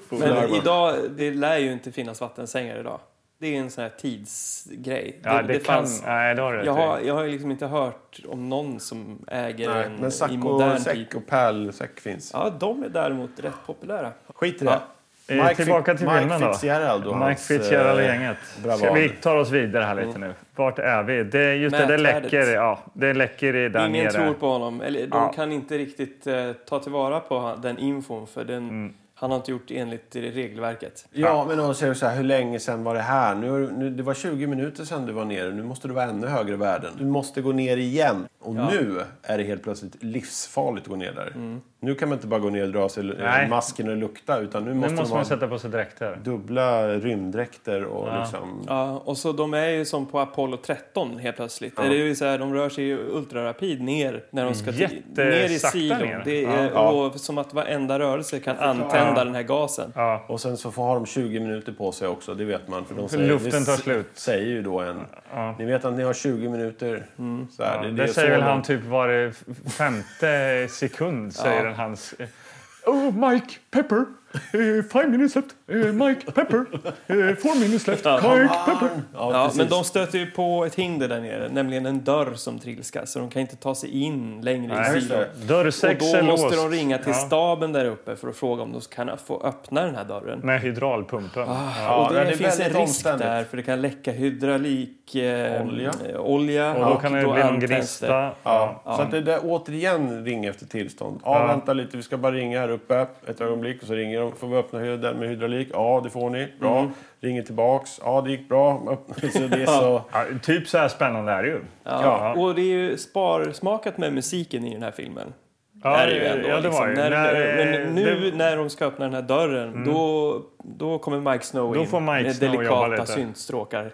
[SPEAKER 3] Men idag, det lär ju inte finnas vattensängar idag. Det är en sån här tidsgrej.
[SPEAKER 1] ja, det, kan, nej, det har du rätt
[SPEAKER 3] jag, har,
[SPEAKER 1] i.
[SPEAKER 3] jag har ju liksom inte hört om någon som äger
[SPEAKER 2] Nej,
[SPEAKER 3] en
[SPEAKER 2] men
[SPEAKER 3] i
[SPEAKER 2] sack och,
[SPEAKER 3] modern tid.
[SPEAKER 2] säck och pärlsäck finns.
[SPEAKER 3] Ja, de är däremot rätt populära.
[SPEAKER 2] Skit i det.
[SPEAKER 1] Eh, tillbaka till filmen då.
[SPEAKER 2] Mike Fitzgerald och
[SPEAKER 1] Mike
[SPEAKER 2] hans,
[SPEAKER 1] Fitzgerald och
[SPEAKER 2] eh,
[SPEAKER 1] gänget. Ska
[SPEAKER 2] bravad. Mm.
[SPEAKER 1] vi tar oss vidare här lite nu. Vart är vi? Det, är- just det, det
[SPEAKER 3] Mätvärdet.
[SPEAKER 1] läcker. Ja, det läcker i där
[SPEAKER 3] Ingen
[SPEAKER 1] nere.
[SPEAKER 3] tror på honom. Eller, de
[SPEAKER 1] Ja.
[SPEAKER 3] kan inte riktigt eh, ta tillvara på han- den infon för den,
[SPEAKER 1] Mm.
[SPEAKER 3] han har inte gjort enligt regelverket.
[SPEAKER 2] Ja, men om säger så här, hur länge sen var det här? Nu, har du- nu, det var 20 minuter sen du var nere. Nu måste du vara ännu högre i världen. Du måste gå ner igen. Och nu är det helt plötsligt livsfarligt att gå ner där. Nu kan man inte bara gå ner och dra sig
[SPEAKER 1] Mm. Nej.
[SPEAKER 2] Nej. masken och lukta. Utan nu
[SPEAKER 1] nu
[SPEAKER 2] måste,
[SPEAKER 1] måste
[SPEAKER 2] man
[SPEAKER 1] man
[SPEAKER 2] ha
[SPEAKER 1] sätta på sig dräkter.
[SPEAKER 2] dubbla rymddräkter och liksom...
[SPEAKER 3] Ja, och så de är ju som på Apollo 13 helt plötsligt. Det är ju så här, de rör sig ju ultrarapid ner när de ska till-
[SPEAKER 1] Jättesakta
[SPEAKER 3] ner i
[SPEAKER 1] ner.
[SPEAKER 3] silon. Det är, Och som att varenda rörelse kan antända den här gasen.
[SPEAKER 1] Ja.
[SPEAKER 2] Och sen så får, har de 20 minuter på sig också, det vet man. För, de säger,
[SPEAKER 1] luften
[SPEAKER 2] det
[SPEAKER 1] tar
[SPEAKER 2] s-
[SPEAKER 1] slut.
[SPEAKER 2] säger ju då en... Ni vet att ni har 20 minuter. Så här,
[SPEAKER 1] Mm. Ja,
[SPEAKER 2] det,
[SPEAKER 1] det,
[SPEAKER 2] det är
[SPEAKER 1] säger
[SPEAKER 2] så
[SPEAKER 1] väl
[SPEAKER 2] de-
[SPEAKER 1] han typ var det f- femte sekund säger den hans... eh, Oh, Mike Pepper! eh, five minutes left! Eh, Mike Pepper! eh, four minutes left! Mike
[SPEAKER 3] Ah,
[SPEAKER 1] Pepper!
[SPEAKER 3] Ja, men de stöter ju på ett hinder där nere, nämligen en dörr som trilskas. Så de kan inte ta sig in längre i
[SPEAKER 1] Nej,
[SPEAKER 3] silon.
[SPEAKER 1] Dörr
[SPEAKER 3] Och
[SPEAKER 1] sex
[SPEAKER 3] då
[SPEAKER 1] är
[SPEAKER 3] måste
[SPEAKER 1] låst.
[SPEAKER 3] de ringa till
[SPEAKER 1] Ja.
[SPEAKER 3] staben där uppe för att fråga om de kan få öppna den här dörren.
[SPEAKER 1] Med hydraulpumpen.
[SPEAKER 3] Ah.
[SPEAKER 2] Ja,
[SPEAKER 3] och det,
[SPEAKER 2] det är
[SPEAKER 3] finns en
[SPEAKER 2] väldigt
[SPEAKER 3] risk
[SPEAKER 2] omständigt.
[SPEAKER 3] där för det kan läcka hydraulik eh,
[SPEAKER 2] Olja.
[SPEAKER 3] eh, olja
[SPEAKER 1] Och då kan det bli någon
[SPEAKER 3] antänds det.
[SPEAKER 1] gnista.
[SPEAKER 2] Ja. Så att det där återigen ring efter tillstånd. Ja, vänta lite, vi ska bara ringa här uppe ett ögonblick. Och så ringer de. Får vi öppna hydden med hydraulik? Ja, det får ni. Bra.
[SPEAKER 1] Mm.
[SPEAKER 2] Ringer tillbaks. Ja, det gick bra. Öppna- Så det är så...
[SPEAKER 1] Ja, typ så här spännande är det ju.
[SPEAKER 3] Ja. Och det är ju sparsmakat med musiken i den här filmen.
[SPEAKER 1] Ja,
[SPEAKER 3] är det ju ändå, liksom.
[SPEAKER 1] ja, det var ju.
[SPEAKER 3] När,
[SPEAKER 1] När, eh,
[SPEAKER 3] men nu
[SPEAKER 1] det- Mm.
[SPEAKER 3] när de ska öppna den här dörren då, då kommer Mike Snow
[SPEAKER 1] Då
[SPEAKER 3] in
[SPEAKER 1] får Mike
[SPEAKER 3] med
[SPEAKER 1] Snow jobba lite.
[SPEAKER 3] delikata syntstråkar.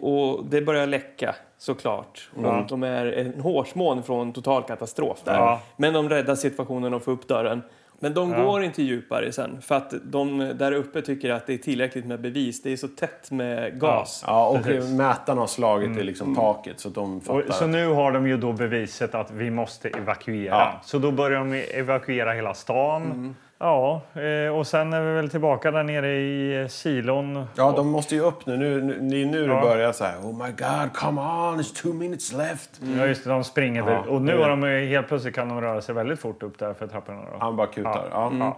[SPEAKER 3] Och det börjar läcka såklart. Och de är en hårsmån från total katastrof där.
[SPEAKER 1] Ja.
[SPEAKER 3] Men de räddar situationen och får upp dörren. Men de går inte djupare sen för att de där uppe tycker att det är tillräckligt med bevis. Det är så tätt med gas.
[SPEAKER 2] Ja, och
[SPEAKER 1] Precis. Mm.
[SPEAKER 2] mätarna har slagit i liksom taket så att de fattar.
[SPEAKER 1] Och, så nu har de ju då beviset att vi måste evakuera.
[SPEAKER 2] Ja. Mhm.
[SPEAKER 1] Så då börjar de evakuera hela stan. Ja, eh, och sen är vi väl tillbaka där nere i eh, silon.
[SPEAKER 2] Ja, de måste ju upp nu. nu, nu det är nu
[SPEAKER 1] Ja.
[SPEAKER 2] det börjar så här. Oh my god, come on, it's two minutes left.
[SPEAKER 1] Ja, just det, de springer väl. Och nu
[SPEAKER 2] det
[SPEAKER 1] har
[SPEAKER 2] är
[SPEAKER 1] de ju- helt plötsligt kan de röra sig väldigt fort upp där för trapporna. Då.
[SPEAKER 2] Han bara kutar. Ja.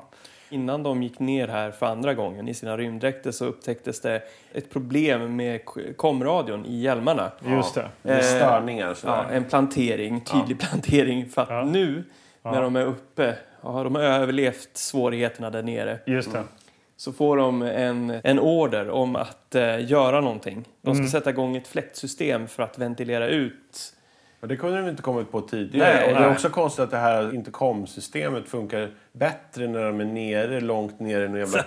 [SPEAKER 3] Innan de gick ner här för andra gången i sina rymddräkter så upptäcktes det ett problem med k- komradion i hjälmarna.
[SPEAKER 1] Just det.
[SPEAKER 2] Det är störningar. Så
[SPEAKER 3] Ja,
[SPEAKER 2] där.
[SPEAKER 3] en plantering, tydlig plantering för att nu när de är uppe, ja, de har överlevt svårigheterna där nere,
[SPEAKER 1] Just det.
[SPEAKER 2] Mm.
[SPEAKER 3] så får de en, en order om att eh, göra någonting. De ska sätta igång ett fläktsystem för att ventilera ut.
[SPEAKER 2] Och det kunde de inte kommit på tidigare.
[SPEAKER 3] Nej,
[SPEAKER 2] och det är
[SPEAKER 3] nej.
[SPEAKER 2] också konstigt att det här intercom-systemet funkar bättre när de är nere, långt nere i någon jävla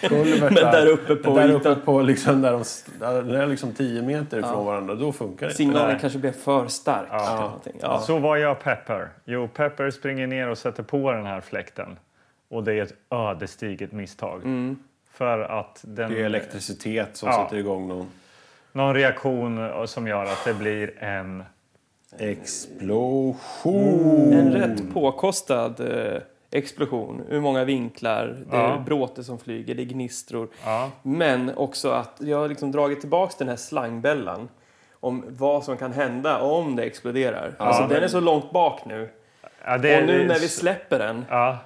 [SPEAKER 2] kulvert.
[SPEAKER 3] Men där uppe på
[SPEAKER 2] Där uppe
[SPEAKER 3] ytan.
[SPEAKER 2] på liksom, där de, där de är liksom 10 meter ifrån varandra. Då funkar det.
[SPEAKER 3] Signalen
[SPEAKER 1] Nej.
[SPEAKER 3] kanske blir för stark. eller någonting. Ja.
[SPEAKER 1] Så vad gör Pepper? Jo, Pepper springer ner och sätter på den här fläkten. Och det är ett ödesdigert misstag. För att den...
[SPEAKER 2] Mm. Det är elektricitet som
[SPEAKER 1] Ja.
[SPEAKER 2] sätter igång någon.
[SPEAKER 1] någon reaktion eh, som gör att det blir en
[SPEAKER 2] Explosion!
[SPEAKER 1] Mm.
[SPEAKER 3] En rätt påkostad eh, explosion. Ur många vinklar. Det är
[SPEAKER 1] Ja.
[SPEAKER 3] bråte som flyger, det är gnistror.
[SPEAKER 1] Ja.
[SPEAKER 3] Men också att jag har liksom dragit tillbaka den här slangbällan om vad som kan hända om det exploderar. alltså, Den är så långt bak nu.
[SPEAKER 1] Ja, det,
[SPEAKER 3] och nu
[SPEAKER 1] det-
[SPEAKER 3] när vi släpper den,
[SPEAKER 1] Ja,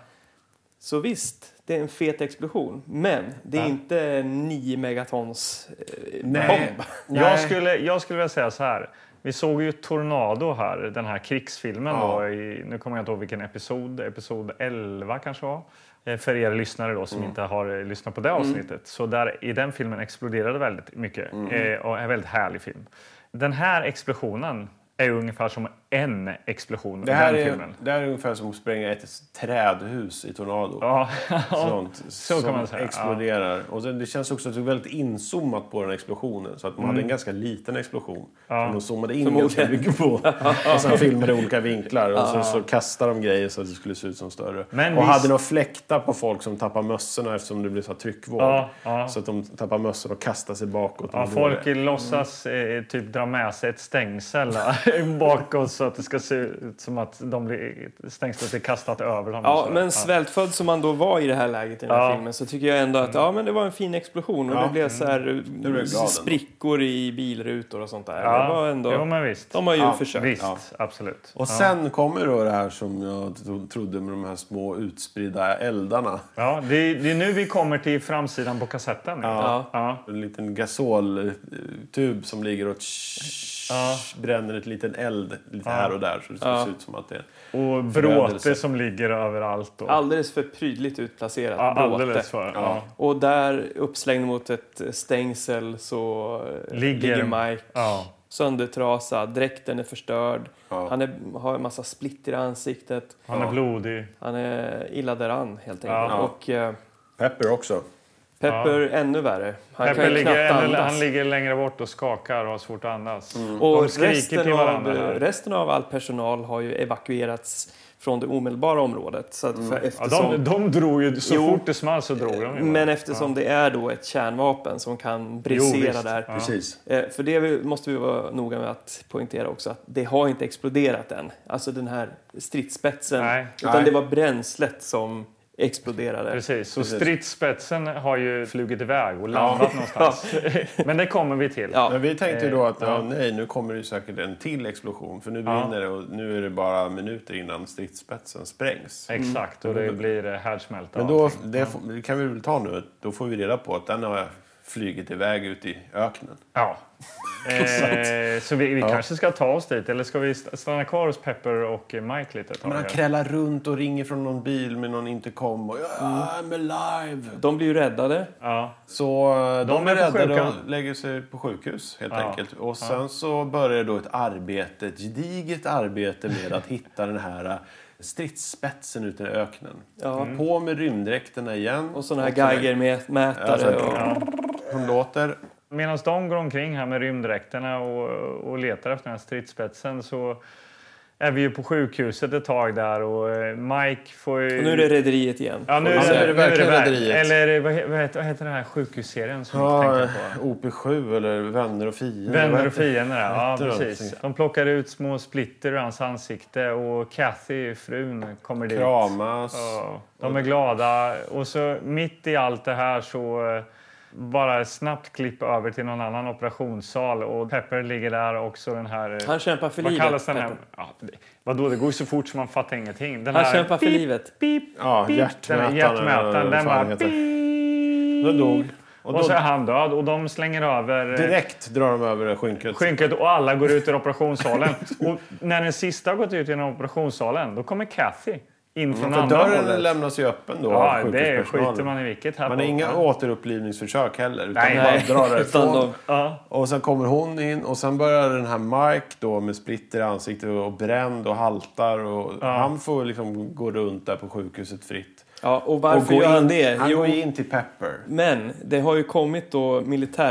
[SPEAKER 3] så visst, det är en fet explosion. Men det är inte 9 megatons eh,
[SPEAKER 2] Nej.
[SPEAKER 3] bomb.
[SPEAKER 1] Jag skulle, jag skulle vilja säga så här. Vi såg ju Tornado här, den här krigsfilmen.
[SPEAKER 2] Ja.
[SPEAKER 1] Då, i, nu kommer jag inte ihåg vilken episod, episod 11 kanske var. Eh, För er lyssnare då, som
[SPEAKER 2] Mm.
[SPEAKER 1] inte har eh, lyssnat på det avsnittet. Så där, i den filmen exploderade väldigt mycket
[SPEAKER 2] Mm.
[SPEAKER 1] eh, och är en väldigt härlig film. Den här explosionen är ju ungefär som en explosion
[SPEAKER 2] Det här,
[SPEAKER 1] i den
[SPEAKER 2] är,
[SPEAKER 1] filmen.
[SPEAKER 2] det här är ungefär som att spränga ett trädhus i Tornado.
[SPEAKER 1] Ja,
[SPEAKER 2] Sånt,
[SPEAKER 1] så kan
[SPEAKER 2] som
[SPEAKER 1] man säga. Ja.
[SPEAKER 2] exploderar. Och sen, det känns också att det är väldigt inzoomat på den explosionen. Så att man
[SPEAKER 1] Mm.
[SPEAKER 2] hade en ganska liten explosion. Som de zoomade in ganska
[SPEAKER 3] Förmodligen.
[SPEAKER 2] mycket på. Och sen filmade olika vinklar. Och sen så kastade de grejer så att det skulle se ut som större.
[SPEAKER 1] Men
[SPEAKER 2] och
[SPEAKER 1] visst-
[SPEAKER 2] hade några fläktar på folk som tappade mössorna eftersom det blev så här tryckvåg.
[SPEAKER 1] Ja, ja.
[SPEAKER 2] Så att de tappade mössorna och kastade sig bakåt.
[SPEAKER 1] Ja,
[SPEAKER 2] Och då-
[SPEAKER 1] folk låtsas eh, typ dra med sig ett stängsel bakåt så att det ska se ut som att de blir, stängslet är kastat över dem. och
[SPEAKER 3] Ja,
[SPEAKER 1] sådär.
[SPEAKER 3] men svältfödd som man då var i det här läget i den här
[SPEAKER 1] Ja. Mm.
[SPEAKER 3] filmen så tycker jag ändå att ja, men det var en fin explosion och
[SPEAKER 2] Ja.
[SPEAKER 3] det blev så här mm,
[SPEAKER 2] blev glad ändå.
[SPEAKER 3] sprickor i bilrutor och sånt där.
[SPEAKER 1] ja.
[SPEAKER 3] Det var ändå,
[SPEAKER 1] Jo, men visst.
[SPEAKER 3] de har ju
[SPEAKER 2] Ja,
[SPEAKER 3] försökt.
[SPEAKER 1] visst,
[SPEAKER 2] Ja.
[SPEAKER 1] absolut.
[SPEAKER 2] Och sen kommer då det här som jag tro- trodde med de här små utspridda eldarna.
[SPEAKER 1] Ja, det, är, det är nu vi kommer till framsidan på kassetten.
[SPEAKER 3] Ja.
[SPEAKER 1] Ja.
[SPEAKER 2] En liten gasoltub som ligger och tsch, bränner ett liten eld lite här och där. Så det ser ut som att det är...
[SPEAKER 1] Och
[SPEAKER 2] Förödelse.
[SPEAKER 1] bråte som ligger överallt. Och,
[SPEAKER 3] Alldeles för prydligt utplacerat
[SPEAKER 1] ja,
[SPEAKER 3] bråte.
[SPEAKER 1] alldeles för. Ja.
[SPEAKER 3] Och där uppslängd mot ett eh, stängsel så eh,
[SPEAKER 1] Ligger-
[SPEAKER 3] ligger Mike
[SPEAKER 1] Ja.
[SPEAKER 3] söndertrasad, dräkten är förstörd,
[SPEAKER 2] Ja.
[SPEAKER 3] han är, har en massa splitter i ansiktet,
[SPEAKER 1] Han är blodig.
[SPEAKER 3] han är illa däran helt enkelt.
[SPEAKER 1] Ja.
[SPEAKER 3] Och eh,
[SPEAKER 2] Pepper också.
[SPEAKER 3] Pepper ännu värre, han
[SPEAKER 1] Peppe
[SPEAKER 3] kan ju
[SPEAKER 1] ligger,
[SPEAKER 3] knappt
[SPEAKER 1] eller,
[SPEAKER 3] andas. Mm.
[SPEAKER 1] han ligger längre bort och skakar och har svårt att andas.
[SPEAKER 3] Och
[SPEAKER 1] De skriker
[SPEAKER 3] resten,
[SPEAKER 1] till
[SPEAKER 3] av,
[SPEAKER 1] varandra här.
[SPEAKER 3] resten av all personal har ju evakuerats från det omedelbara området. Så att för,
[SPEAKER 1] Mm. Ja,
[SPEAKER 3] eftersom,
[SPEAKER 1] de, de drog ju, så
[SPEAKER 3] Jo.
[SPEAKER 1] fort det small så drog de ju.
[SPEAKER 3] men eftersom det är då ett kärnvapen som kan
[SPEAKER 1] Jo,
[SPEAKER 3] brisera
[SPEAKER 1] visst.
[SPEAKER 3] där.
[SPEAKER 1] Ja.
[SPEAKER 2] Precis.
[SPEAKER 3] Eh, För det vi- måste vi vara noga med att poängtera också att det har inte exploderat än. Alltså den här stridsspetsen.
[SPEAKER 1] Nej.
[SPEAKER 3] utan
[SPEAKER 2] Nej.
[SPEAKER 3] det var bränslet som exploderade.
[SPEAKER 1] Precis, så stridsspetsen har ju flugit iväg och landat någonstans. Men det kommer vi till.
[SPEAKER 3] Ja.
[SPEAKER 2] Men vi tänkte ju då att ja, nej, nu kommer det ju säkert en till explosion. För nu brinner det och nu är det bara minuter innan stridsspetsen sprängs.
[SPEAKER 1] Exakt, och det blir eh, härdsmälta.
[SPEAKER 2] Men
[SPEAKER 1] och
[SPEAKER 2] då,
[SPEAKER 1] allting.
[SPEAKER 2] det, får- det kan vi väl ta nu. Då får vi reda på att den har flugit iväg ut i öknen.
[SPEAKER 1] Ja. Eh, så vi, vi kanske ska ta oss dit, eller ska vi st- stanna kvar hos Pepper och eh, Mike lite ett tag?
[SPEAKER 2] Men han krälar runt och ringer från någon bil med någon intercom. Och, I'm alive!
[SPEAKER 3] De blir ju räddade.
[SPEAKER 1] Ja.
[SPEAKER 2] Så eh, de,
[SPEAKER 1] De
[SPEAKER 2] är
[SPEAKER 1] är på
[SPEAKER 2] räddade
[SPEAKER 1] sjukan.
[SPEAKER 2] och lägger sig på sjukhus helt
[SPEAKER 1] Ja.
[SPEAKER 2] enkelt. Och sen så börjar då ett arbete, ett gediget arbete med att hitta den här eh, stridsspetsen ute i öknen. Mm.
[SPEAKER 3] Ja.
[SPEAKER 2] På med rymddräkterna igen.
[SPEAKER 3] Och sådana här Geigermätare.
[SPEAKER 2] Alltså,
[SPEAKER 3] och,
[SPEAKER 2] Hon låter.
[SPEAKER 1] Medan de går omkring här med rymddräkterna och, och letar efter den här stridsspetsen så är vi ju på sjukhuset ett tag där och eh, Mike får ju...
[SPEAKER 3] och nu är det rederiet igen.
[SPEAKER 1] Ja, nu är
[SPEAKER 2] Ja,
[SPEAKER 1] det,
[SPEAKER 2] nu är det
[SPEAKER 1] nu är det
[SPEAKER 2] verkligen
[SPEAKER 1] verk-
[SPEAKER 2] Rederiet.
[SPEAKER 1] Eller vad, he- vad, heter, vad heter den här sjukhusserien som du
[SPEAKER 2] Ja,
[SPEAKER 1] tänkte på?
[SPEAKER 2] OP7 eller Vänner och fiender.
[SPEAKER 1] eh, Vänner
[SPEAKER 2] Vad
[SPEAKER 1] och fiender, ja.
[SPEAKER 2] Vad
[SPEAKER 1] ja
[SPEAKER 2] heter de?
[SPEAKER 1] precis. De plockar ut små splitter ur hans ansikte och Kathy, frun, kommer dit.
[SPEAKER 2] Kramas.
[SPEAKER 1] Ja, de är glada. Och så mitt i allt det här så eh, bara snabbt klipp över till någon annan operationssal och Pepper ligger där också den här... eh,
[SPEAKER 3] Han kämpar för
[SPEAKER 1] vad
[SPEAKER 3] livet,
[SPEAKER 1] kallas den här?
[SPEAKER 3] Pepper.
[SPEAKER 1] Ja, det- vadå, det går ju så fort så man fattar ingenting. Den
[SPEAKER 3] Han
[SPEAKER 1] här,
[SPEAKER 3] kämpar för
[SPEAKER 1] pip,
[SPEAKER 3] livet.
[SPEAKER 1] Pip,
[SPEAKER 2] Ja,
[SPEAKER 1] pip, den här
[SPEAKER 2] hjärtmätaren. eller
[SPEAKER 1] hjärtmätaren.
[SPEAKER 2] vad
[SPEAKER 1] Den
[SPEAKER 2] fan
[SPEAKER 1] bara...
[SPEAKER 2] heter.
[SPEAKER 1] pip.
[SPEAKER 2] Den dog. Och
[SPEAKER 1] Och,
[SPEAKER 2] då,
[SPEAKER 1] så är han död och de slänger över... eh,
[SPEAKER 2] direkt drar de över det skynket.
[SPEAKER 1] skynket och alla går ut ur operationssalen. och när den sista har gått ut genom operationssalen, då kommer Kathy in från
[SPEAKER 2] För
[SPEAKER 1] andra
[SPEAKER 2] dörren
[SPEAKER 1] hållet.
[SPEAKER 2] lämnas ju öppen då
[SPEAKER 1] Ja,
[SPEAKER 2] av
[SPEAKER 1] det
[SPEAKER 2] sjukhuspersonalen.
[SPEAKER 1] skiter man i vilket här
[SPEAKER 2] Man
[SPEAKER 1] på.
[SPEAKER 2] har inga återupplivningsförsök heller. Utan
[SPEAKER 1] Nej,
[SPEAKER 2] man bara
[SPEAKER 3] nej.
[SPEAKER 2] drar
[SPEAKER 3] Utan
[SPEAKER 2] därifrån.
[SPEAKER 3] de-
[SPEAKER 1] Ja.
[SPEAKER 2] Och sen kommer hon in och sen börjar den här Mike då med splitter i ansiktet och bränd och haltar. Och Han får liksom gå runt där på sjukhuset fritt.
[SPEAKER 3] Ja, och varför
[SPEAKER 2] och
[SPEAKER 3] gör
[SPEAKER 2] gå
[SPEAKER 3] han
[SPEAKER 2] in,
[SPEAKER 3] det?
[SPEAKER 2] Han
[SPEAKER 3] Jo,
[SPEAKER 2] går ju in till Pepper.
[SPEAKER 3] Men det har ju kommit då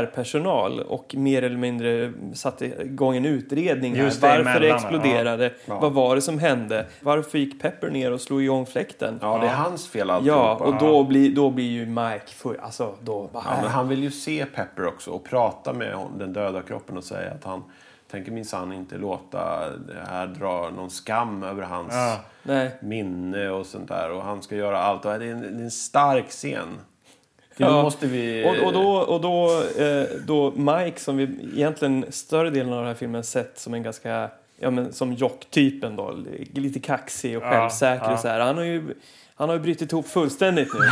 [SPEAKER 3] militärpersonal och mer eller mindre satt igång en utredning här.
[SPEAKER 1] Just det,
[SPEAKER 3] Varför det
[SPEAKER 1] emellan,
[SPEAKER 3] exploderade, vad var det som hände, varför gick Pepper ner och slog igång fläkten?
[SPEAKER 2] Ja, det är hans fel
[SPEAKER 3] Ja,
[SPEAKER 2] alltihopa.
[SPEAKER 3] och då blir, då blir ju Mike full. Alltså, då bara...
[SPEAKER 2] Ja, men han vill ju se Pepper också och prata med hon- den döda kroppen och säga att han tänker minsann inte låta det här dra någon skam över hans
[SPEAKER 1] Ja.
[SPEAKER 3] Nej.
[SPEAKER 2] minne och sånt där. Och han ska göra allt. Och det, är en, det är en stark scen. Det
[SPEAKER 3] Ja.
[SPEAKER 2] måste vi...
[SPEAKER 3] Och, och, då, och då, eh, då Mike, som vi egentligen större delen av den här filmen sett som en ganska, ja men som jock-typen då, lite kaxig och
[SPEAKER 1] Ja,
[SPEAKER 3] självsäker
[SPEAKER 1] ja.
[SPEAKER 3] och så här. Han har ju, han har ju brutit ihop fullständigt nu.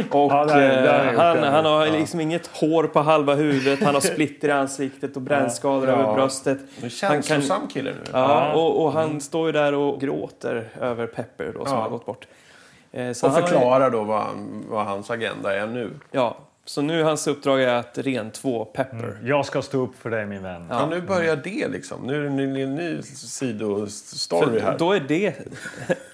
[SPEAKER 3] Och
[SPEAKER 1] Ja, det har- det har han
[SPEAKER 3] eh,
[SPEAKER 1] gjort,
[SPEAKER 3] han,
[SPEAKER 1] det har
[SPEAKER 3] han
[SPEAKER 1] han
[SPEAKER 3] har
[SPEAKER 1] gjort, ja.
[SPEAKER 3] liksom inget hår på halva huvudet, han har splitter i ansiktet och brännskador
[SPEAKER 2] Ja.
[SPEAKER 3] över bröstet.
[SPEAKER 2] En
[SPEAKER 3] Han kan,
[SPEAKER 2] känslosam kille nu.
[SPEAKER 3] ja, och, och han
[SPEAKER 1] Mm.
[SPEAKER 3] står ju där och gråter över Pepper då, som
[SPEAKER 2] Ja.
[SPEAKER 3] har gått bort. Eh, så
[SPEAKER 2] Och
[SPEAKER 3] han har ju-
[SPEAKER 2] förklarar då vad, han- vad hans agenda är nu.
[SPEAKER 3] Ja, så nu hans uppdrag är att rentvå Pepper.
[SPEAKER 1] Jag ska stå upp för dig min vän.
[SPEAKER 2] Ja. nu börjar det liksom. Nu är det en ny, en ny sidostory
[SPEAKER 3] För
[SPEAKER 2] här.
[SPEAKER 3] då är det,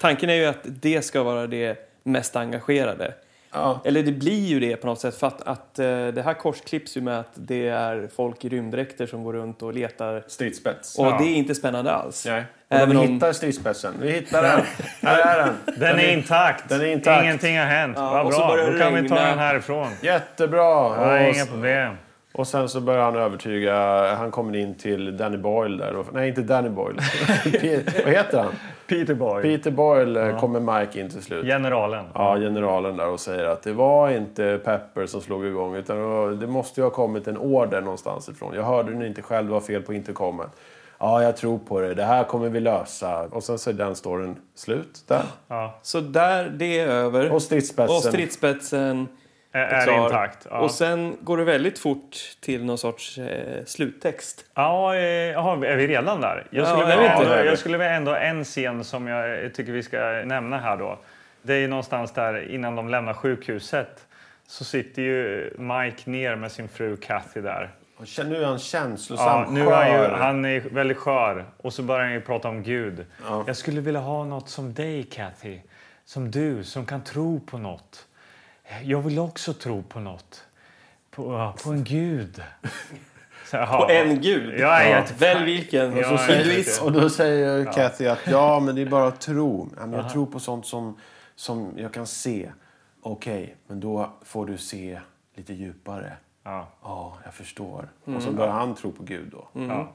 [SPEAKER 3] tanken är ju att det ska vara det mest engagerade.
[SPEAKER 2] ja.
[SPEAKER 3] Eller det blir ju det på något sätt för att, att eh, det här korsklipps ju med att det är folk i rymddräkter som går runt och letar.
[SPEAKER 2] Stridsspets.
[SPEAKER 3] Och det är inte spännande alls.
[SPEAKER 2] Nej. Och
[SPEAKER 3] Även
[SPEAKER 2] de
[SPEAKER 3] om-
[SPEAKER 2] hittar stridsspetsen. Vi hittar den. här är den.
[SPEAKER 1] Den är intakt.
[SPEAKER 2] den är intakt.
[SPEAKER 1] Ingenting har hänt. Vad
[SPEAKER 3] och så
[SPEAKER 1] bra,
[SPEAKER 3] börjar
[SPEAKER 1] då
[SPEAKER 3] det
[SPEAKER 1] kan vi ta
[SPEAKER 3] regna.
[SPEAKER 1] den härifrån.
[SPEAKER 2] Jättebra.
[SPEAKER 1] Ja,
[SPEAKER 2] och,
[SPEAKER 1] inga problem.
[SPEAKER 2] och sen så börjar han övertyga. Han kommer in till Danny Boyle där. Och, nej, inte Danny Boyle. Pe- Vad heter han?
[SPEAKER 1] Peter Boy.
[SPEAKER 2] Peter Boyle eh, kommer Mike in till slut.
[SPEAKER 1] Generalen.
[SPEAKER 2] Ja, generalen där och säger att det var inte Pepper som slog igång utan det var- det måste ju ha kommit en order någonstans ifrån. Jag hörde den inte själv, det var fel på intercomen. Ja, jag tror på det. Det här kommer vi lösa. Och sen så är den storyn slut där.
[SPEAKER 3] Så där, det är över.
[SPEAKER 2] Och stridsspetsen.
[SPEAKER 3] Och stridsspetsen
[SPEAKER 1] Är,
[SPEAKER 3] är
[SPEAKER 1] är
[SPEAKER 3] klar.
[SPEAKER 1] intakt. Ja.
[SPEAKER 3] Och sen går det väldigt fort till någon sorts eh, sluttext.
[SPEAKER 1] Ja, eh, jaha, är vi redan där? Jag skulle,
[SPEAKER 3] Ja,
[SPEAKER 1] vilja,
[SPEAKER 3] jag vet
[SPEAKER 1] ändå,
[SPEAKER 2] inte.
[SPEAKER 1] jag skulle vilja ändå en scen som jag eh, tycker vi ska nämna här då. Det är ju någonstans där innan de lämnar sjukhuset så sitter ju Mike ner med sin fru Kathy där.
[SPEAKER 2] Och kän- Nu är han känslosam,
[SPEAKER 1] Ja, nu är han, ju,
[SPEAKER 2] skör.
[SPEAKER 1] han är väldigt skör och så börjar han ju prata om Gud. Jag skulle vilja ha något som dig, Kathy. Som du, som kan tro på något. Jag vill också tro på något. På, på en gud. Så, jaha.
[SPEAKER 3] På en gud.
[SPEAKER 1] Ja, jag vet
[SPEAKER 3] Välj
[SPEAKER 1] Ja,
[SPEAKER 3] vilken.
[SPEAKER 1] jag vet
[SPEAKER 3] Hinduism.
[SPEAKER 1] inte.
[SPEAKER 2] Och då säger Kathy att ja, men det är bara att tro. Ja, men jag tror på sånt som, som jag kan se. Okej, men då får du se lite djupare.
[SPEAKER 1] Ja.
[SPEAKER 2] Ja, jag förstår. Och
[SPEAKER 1] Mm.
[SPEAKER 2] så börjar han tro på Gud då.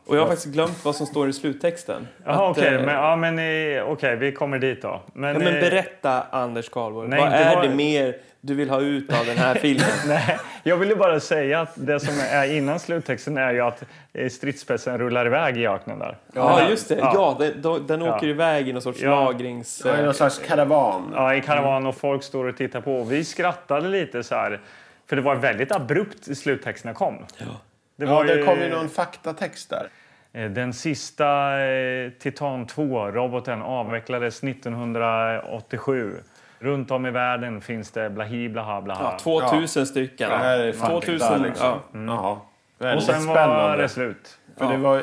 [SPEAKER 3] Och jag har faktiskt glömt vad som står i sluttexten.
[SPEAKER 1] Jaha,
[SPEAKER 3] Att,
[SPEAKER 1] okej.
[SPEAKER 3] eh,
[SPEAKER 1] men, Mm. ja, men, eh, okej, vi kommer dit då.
[SPEAKER 3] Ja,
[SPEAKER 1] eh,
[SPEAKER 3] men berätta, Anders Carlborg.
[SPEAKER 1] Nej,
[SPEAKER 3] vad
[SPEAKER 1] inte
[SPEAKER 3] är
[SPEAKER 1] bara-
[SPEAKER 3] det mer du vill ha ut av den här filmen?
[SPEAKER 1] Nej, jag ville bara säga att det som är innan sluttexten är ju att eh, stridsspetsen rullar iväg i öknen där.
[SPEAKER 3] ja, just det.
[SPEAKER 1] Ja.
[SPEAKER 3] Ja, den, då- den åker iväg i någon sorts
[SPEAKER 1] Ja.
[SPEAKER 3] lagrings... eh,
[SPEAKER 2] Det är någon slags karavan.
[SPEAKER 1] Ja, i
[SPEAKER 2] Mm.
[SPEAKER 1] karavan och folk står och tittar på. Och vi skrattade lite så här, för det var väldigt abrupt i sluttexterna kom. Det
[SPEAKER 2] Ja,
[SPEAKER 1] var
[SPEAKER 2] det
[SPEAKER 1] ju,
[SPEAKER 2] kom ju någon faktatext där.
[SPEAKER 1] eh, Den sista eh, Titan 2-roboten avvecklades 1987. Runt om i världen finns det blahi blaha blaha.
[SPEAKER 3] Ja, 2000 stycken.
[SPEAKER 2] Det här är fakta
[SPEAKER 3] 2000,
[SPEAKER 2] liksom.
[SPEAKER 3] ja.
[SPEAKER 2] Jaha.
[SPEAKER 1] och
[SPEAKER 2] Väldigt
[SPEAKER 1] sen var
[SPEAKER 2] spännande.
[SPEAKER 1] det slut.
[SPEAKER 2] För det var ju...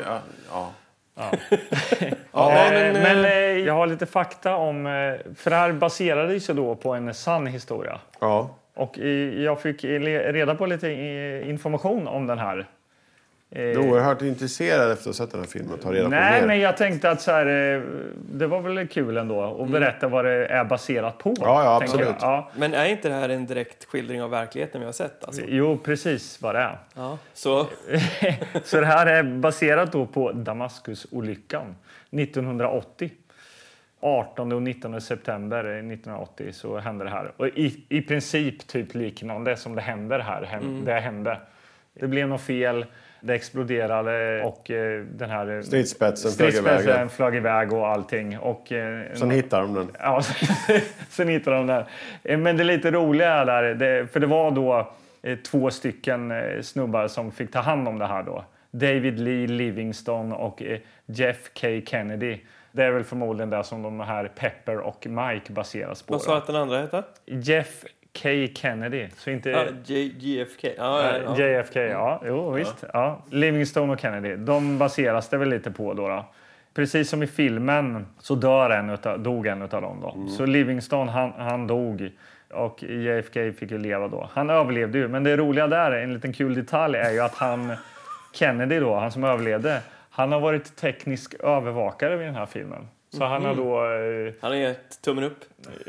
[SPEAKER 2] Ja. ja.
[SPEAKER 3] Ja,
[SPEAKER 1] Eh,
[SPEAKER 3] men, eh,
[SPEAKER 1] Men eh, jag har lite fakta om... eh, För det här baserade sig då på en sann historia.
[SPEAKER 2] ja.
[SPEAKER 1] Och i, jag fick i- le- reda på lite i- information om den här. Eh,
[SPEAKER 2] Du är oerhört intresserad efter att ha sett den här filmen och ta reda
[SPEAKER 1] Nej,
[SPEAKER 2] på mer.
[SPEAKER 1] men jag tänkte att så här, eh, det var väl kul ändå att berätta vad det är baserat på.
[SPEAKER 2] Mm. Ja, ja,
[SPEAKER 1] tänker
[SPEAKER 2] absolut.
[SPEAKER 1] jag. Ja.
[SPEAKER 3] men är inte det här en direkt skildring av verkligheten vi har sett? Alltså?
[SPEAKER 1] Jo, precis vad det är.
[SPEAKER 3] Ja. Så,
[SPEAKER 1] Så det här är baserat då på Damaskusolyckan 1980. 18 och 19 september 1980 så hände det här. Och i, i princip typ liknande som det händer här. Hem,
[SPEAKER 2] Mm.
[SPEAKER 1] Det hände. Det blev något fel, det exploderade och eh, den här
[SPEAKER 2] Stridsspetsen flög iväg.
[SPEAKER 1] stridsspetsen flög iväg och allting. Och, eh,
[SPEAKER 2] Sen hittar de den.
[SPEAKER 1] Ja, sen, sen hittade de den. Eh, Men det lite roliga där, det, för det var då eh, två stycken eh, snubbar som fick ta hand om det här då. David Lee Livingston och eh, Jeff K Kennedy. Det är väl förmodligen det som de här Pepper och Mike baseras på.
[SPEAKER 3] vad sa
[SPEAKER 1] Då.
[SPEAKER 3] att den andra
[SPEAKER 1] Eh.
[SPEAKER 3] hette?
[SPEAKER 1] Jeff K Kennedy, så inte...
[SPEAKER 3] Ja, J- JFK. Ja, ja, ja. Mm.
[SPEAKER 1] JFK, ja. Jo, visst. Ja. Livingstone och Kennedy, de baseras det väl lite på då. då. Precis som i filmen så dör en utav, dog en utav dem.
[SPEAKER 3] Mm.
[SPEAKER 1] Då. Så Livingstone, han, han dog. Och JFK fick ju leva då. Han överlevde ju. Men det roliga där, en liten kul detalj, är ju att han... Kennedy då, han som överlevde, han har varit teknisk övervakare vid den här filmen.
[SPEAKER 3] Mhm.
[SPEAKER 1] Så han har då... eh,
[SPEAKER 3] Han har gett tummen upp.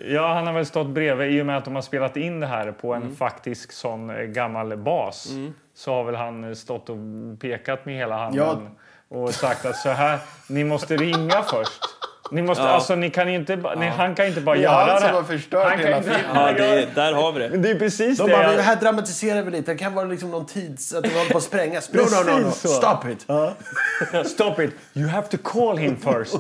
[SPEAKER 1] Ja, han har väl stått bredvid. I och med att de har spelat in det här på
[SPEAKER 2] Mm.
[SPEAKER 1] en faktisk sån eh, gammal bas så har väl han eh, stått och pekat med hela handen och sagt att så här, ni måste ringa först. Ni måste, alltså, ni kan inte, ba- nej, han kan inte bara
[SPEAKER 2] Det är
[SPEAKER 1] göra
[SPEAKER 2] han
[SPEAKER 1] det
[SPEAKER 2] som
[SPEAKER 1] här.
[SPEAKER 2] har förstört
[SPEAKER 1] Han kan
[SPEAKER 2] hela
[SPEAKER 1] inte-
[SPEAKER 2] filmen.
[SPEAKER 3] Ja, det, där har vi det.
[SPEAKER 1] Det är precis
[SPEAKER 2] De
[SPEAKER 1] det.
[SPEAKER 2] bara,
[SPEAKER 1] jag-
[SPEAKER 2] det här dramatiserar vi lite. Det kan vara liksom någon tids... Att det håller på att sprängas. No, no, no, no.
[SPEAKER 1] Precis så.
[SPEAKER 2] Stop it.
[SPEAKER 1] Stop it! You have to call him first.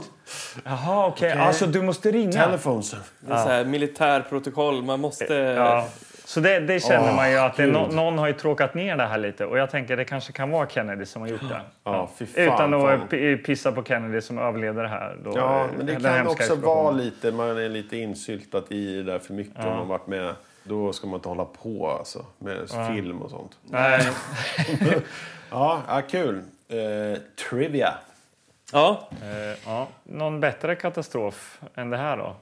[SPEAKER 1] Jaha, okej. Alltså, du måste ringa.
[SPEAKER 2] Telephones.
[SPEAKER 3] Det är så här militärprotokoll. Man måste...
[SPEAKER 1] Ja. Så det, det känner man ju att det,
[SPEAKER 2] Gud.
[SPEAKER 1] nå- någon har ju tråkat ner det här lite. Och jag tänker det kanske kan vara Kennedy som har gjort det.
[SPEAKER 2] Ja, fy fan.
[SPEAKER 1] Utan att
[SPEAKER 2] fan.
[SPEAKER 1] p- pissa på Kennedy som överleder det här. Då,
[SPEAKER 2] Ja,
[SPEAKER 1] eh,
[SPEAKER 2] men det
[SPEAKER 1] den
[SPEAKER 2] kan
[SPEAKER 1] hemska
[SPEAKER 2] också
[SPEAKER 1] explosionen.
[SPEAKER 2] vara lite, man är lite insyltat i det där för mycket om man har varit med. Då ska man inte hålla på alltså, med film och sånt.
[SPEAKER 1] Nej.
[SPEAKER 2] Ja, ja kul. Eh, trivia.
[SPEAKER 3] Ja.
[SPEAKER 1] Eh, ja. Någon bättre katastrof än det här då?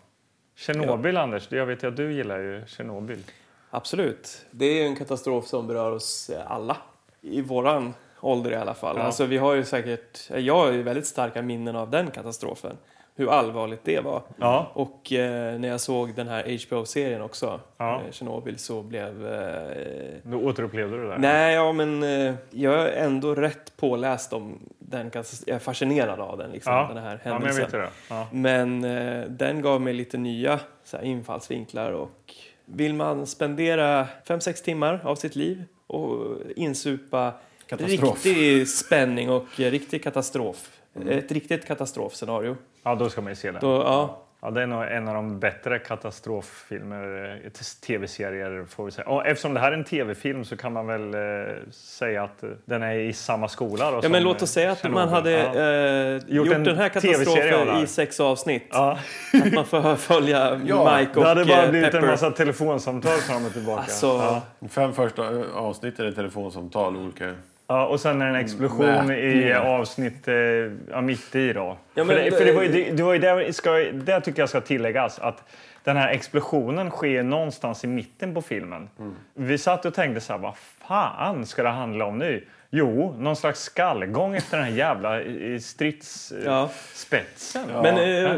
[SPEAKER 1] Tjernobyl, Anders. Jag vet ju att du gillar ju Tjernobyl.
[SPEAKER 3] Absolut. Det är ju en katastrof som berör oss eh, alla. I våran ålder i alla fall. Alltså, vi har ju säkert, eh, jag har ju väldigt starka minnen av den katastrofen. Hur allvarligt det var.
[SPEAKER 1] Ja.
[SPEAKER 3] Och eh, när jag såg den här HBO-serien också,
[SPEAKER 1] Ja.
[SPEAKER 3] eh, Tjernobyl, så blev... Eh,
[SPEAKER 1] Då återupplevde du det där?
[SPEAKER 3] Nej, ja, men eh, jag är ändå rätt påläst om den. katas- Jag är fascinerad av den, liksom,
[SPEAKER 1] Ja.
[SPEAKER 3] den här
[SPEAKER 1] Ja, men jag
[SPEAKER 3] händelsen.
[SPEAKER 1] vet ju det. Ja.
[SPEAKER 3] Men eh, den gav mig lite nya så här, infallsvinklar och vill man spendera 5-6 timmar av sitt liv och insupa
[SPEAKER 2] Katastrof.
[SPEAKER 3] riktig spänning och eh, riktig katastrof, ett riktigt katastrofscenario,
[SPEAKER 1] ja, då ska man ju se den.
[SPEAKER 3] då, ja,
[SPEAKER 1] Mm. Ja, det är nog en av de bättre katastroffilmer, eh, tv-serier får vi säga. Och eftersom det här är en tv-film så kan man väl eh, säga att eh, den är i samma skola. Då,
[SPEAKER 3] ja
[SPEAKER 1] som,
[SPEAKER 3] men låt oss
[SPEAKER 1] eh,
[SPEAKER 3] säga att
[SPEAKER 1] Chernobyl.
[SPEAKER 3] man hade
[SPEAKER 1] Ja.
[SPEAKER 3] eh, gjort,
[SPEAKER 1] en
[SPEAKER 3] den här
[SPEAKER 1] TV-serie av det
[SPEAKER 3] katastrofen
[SPEAKER 1] här.
[SPEAKER 3] i sex avsnitt.
[SPEAKER 1] Ja.
[SPEAKER 3] Att man får följa
[SPEAKER 2] Ja,
[SPEAKER 3] Mike och
[SPEAKER 1] Det hade bara
[SPEAKER 3] eh,
[SPEAKER 1] blivit
[SPEAKER 3] Pepper.
[SPEAKER 1] en massa telefonsamtal fram och tillbaka.
[SPEAKER 3] Alltså,
[SPEAKER 1] Ja.
[SPEAKER 2] De Fem första eh, avsnitten är telefonsamtal. Olika.
[SPEAKER 1] Ja, och sen är det en explosion i avsnitt, eh, ja, mitt i då.
[SPEAKER 3] Mm.
[SPEAKER 1] för
[SPEAKER 3] Ja, men
[SPEAKER 1] det, för det var ju,
[SPEAKER 3] det-
[SPEAKER 1] det, det var ju där, ska, där tycker jag ska tilläggas att den här explosionen sker någonstans i mitten på filmen.
[SPEAKER 3] Mm.
[SPEAKER 1] Vi satt och tänkte så här, vad fan ska det handla om nu? Jo, någon slags skallgång efter den här jävla eh, stridsspetsen.
[SPEAKER 3] Ja. Men, eh,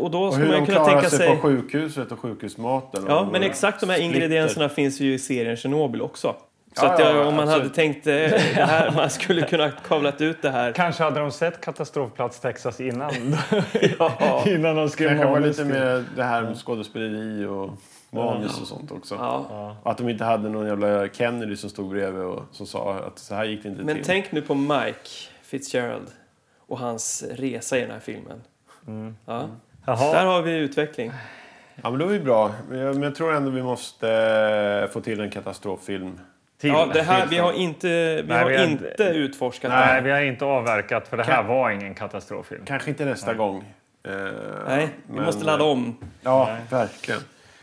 [SPEAKER 3] och då
[SPEAKER 2] Och
[SPEAKER 3] skulle
[SPEAKER 2] hur
[SPEAKER 3] man
[SPEAKER 2] de
[SPEAKER 3] kunna
[SPEAKER 2] klarar
[SPEAKER 3] tänka
[SPEAKER 2] sig,
[SPEAKER 3] sig...
[SPEAKER 2] på sjukhuset och sjukhusmaten. och
[SPEAKER 3] Ja,
[SPEAKER 2] de-
[SPEAKER 3] men exakt de här
[SPEAKER 2] splitter.
[SPEAKER 3] ingredienserna finns ju i serien Tjernobyl också. Så
[SPEAKER 2] Ja,
[SPEAKER 3] att
[SPEAKER 2] ja,
[SPEAKER 3] jag, om man
[SPEAKER 2] absolut.
[SPEAKER 3] hade tänkt eh, det här, man skulle kunna kavlat ut det här.
[SPEAKER 1] Kanske hade de sett Katastrofplats Texas innan,
[SPEAKER 3] Ja,
[SPEAKER 1] innan de skrev
[SPEAKER 2] Det kan vara
[SPEAKER 1] manus
[SPEAKER 2] lite
[SPEAKER 1] till-
[SPEAKER 2] mer det här med skådespeleri och manus och sånt också.
[SPEAKER 3] ja.
[SPEAKER 2] Att de inte hade någon jävla Kennedy som stod bredvid och som sa att så här gick det inte
[SPEAKER 3] Men
[SPEAKER 2] till.
[SPEAKER 3] tänk nu på Mike Fitzgerald och hans resa i den här filmen.
[SPEAKER 2] Mm.
[SPEAKER 3] Ja. Där
[SPEAKER 1] Jaha.
[SPEAKER 3] har vi utveckling.
[SPEAKER 2] Ja, men det var ju bra. Men jag- men jag tror ändå vi måste eh, få till en katastroffilm.
[SPEAKER 1] Till.
[SPEAKER 3] Ja, det här, vi har inte, vi
[SPEAKER 1] Nej,
[SPEAKER 3] har
[SPEAKER 1] vi har inte-
[SPEAKER 3] inte utforskat det
[SPEAKER 1] Nej,
[SPEAKER 3] här.
[SPEAKER 1] vi har inte avverkat för det här var ingen katastroffilm.
[SPEAKER 2] Kanske inte nästa gång. Eh,
[SPEAKER 3] Nej, vi
[SPEAKER 2] men-
[SPEAKER 3] måste ladda om.
[SPEAKER 2] Ja, verkligen.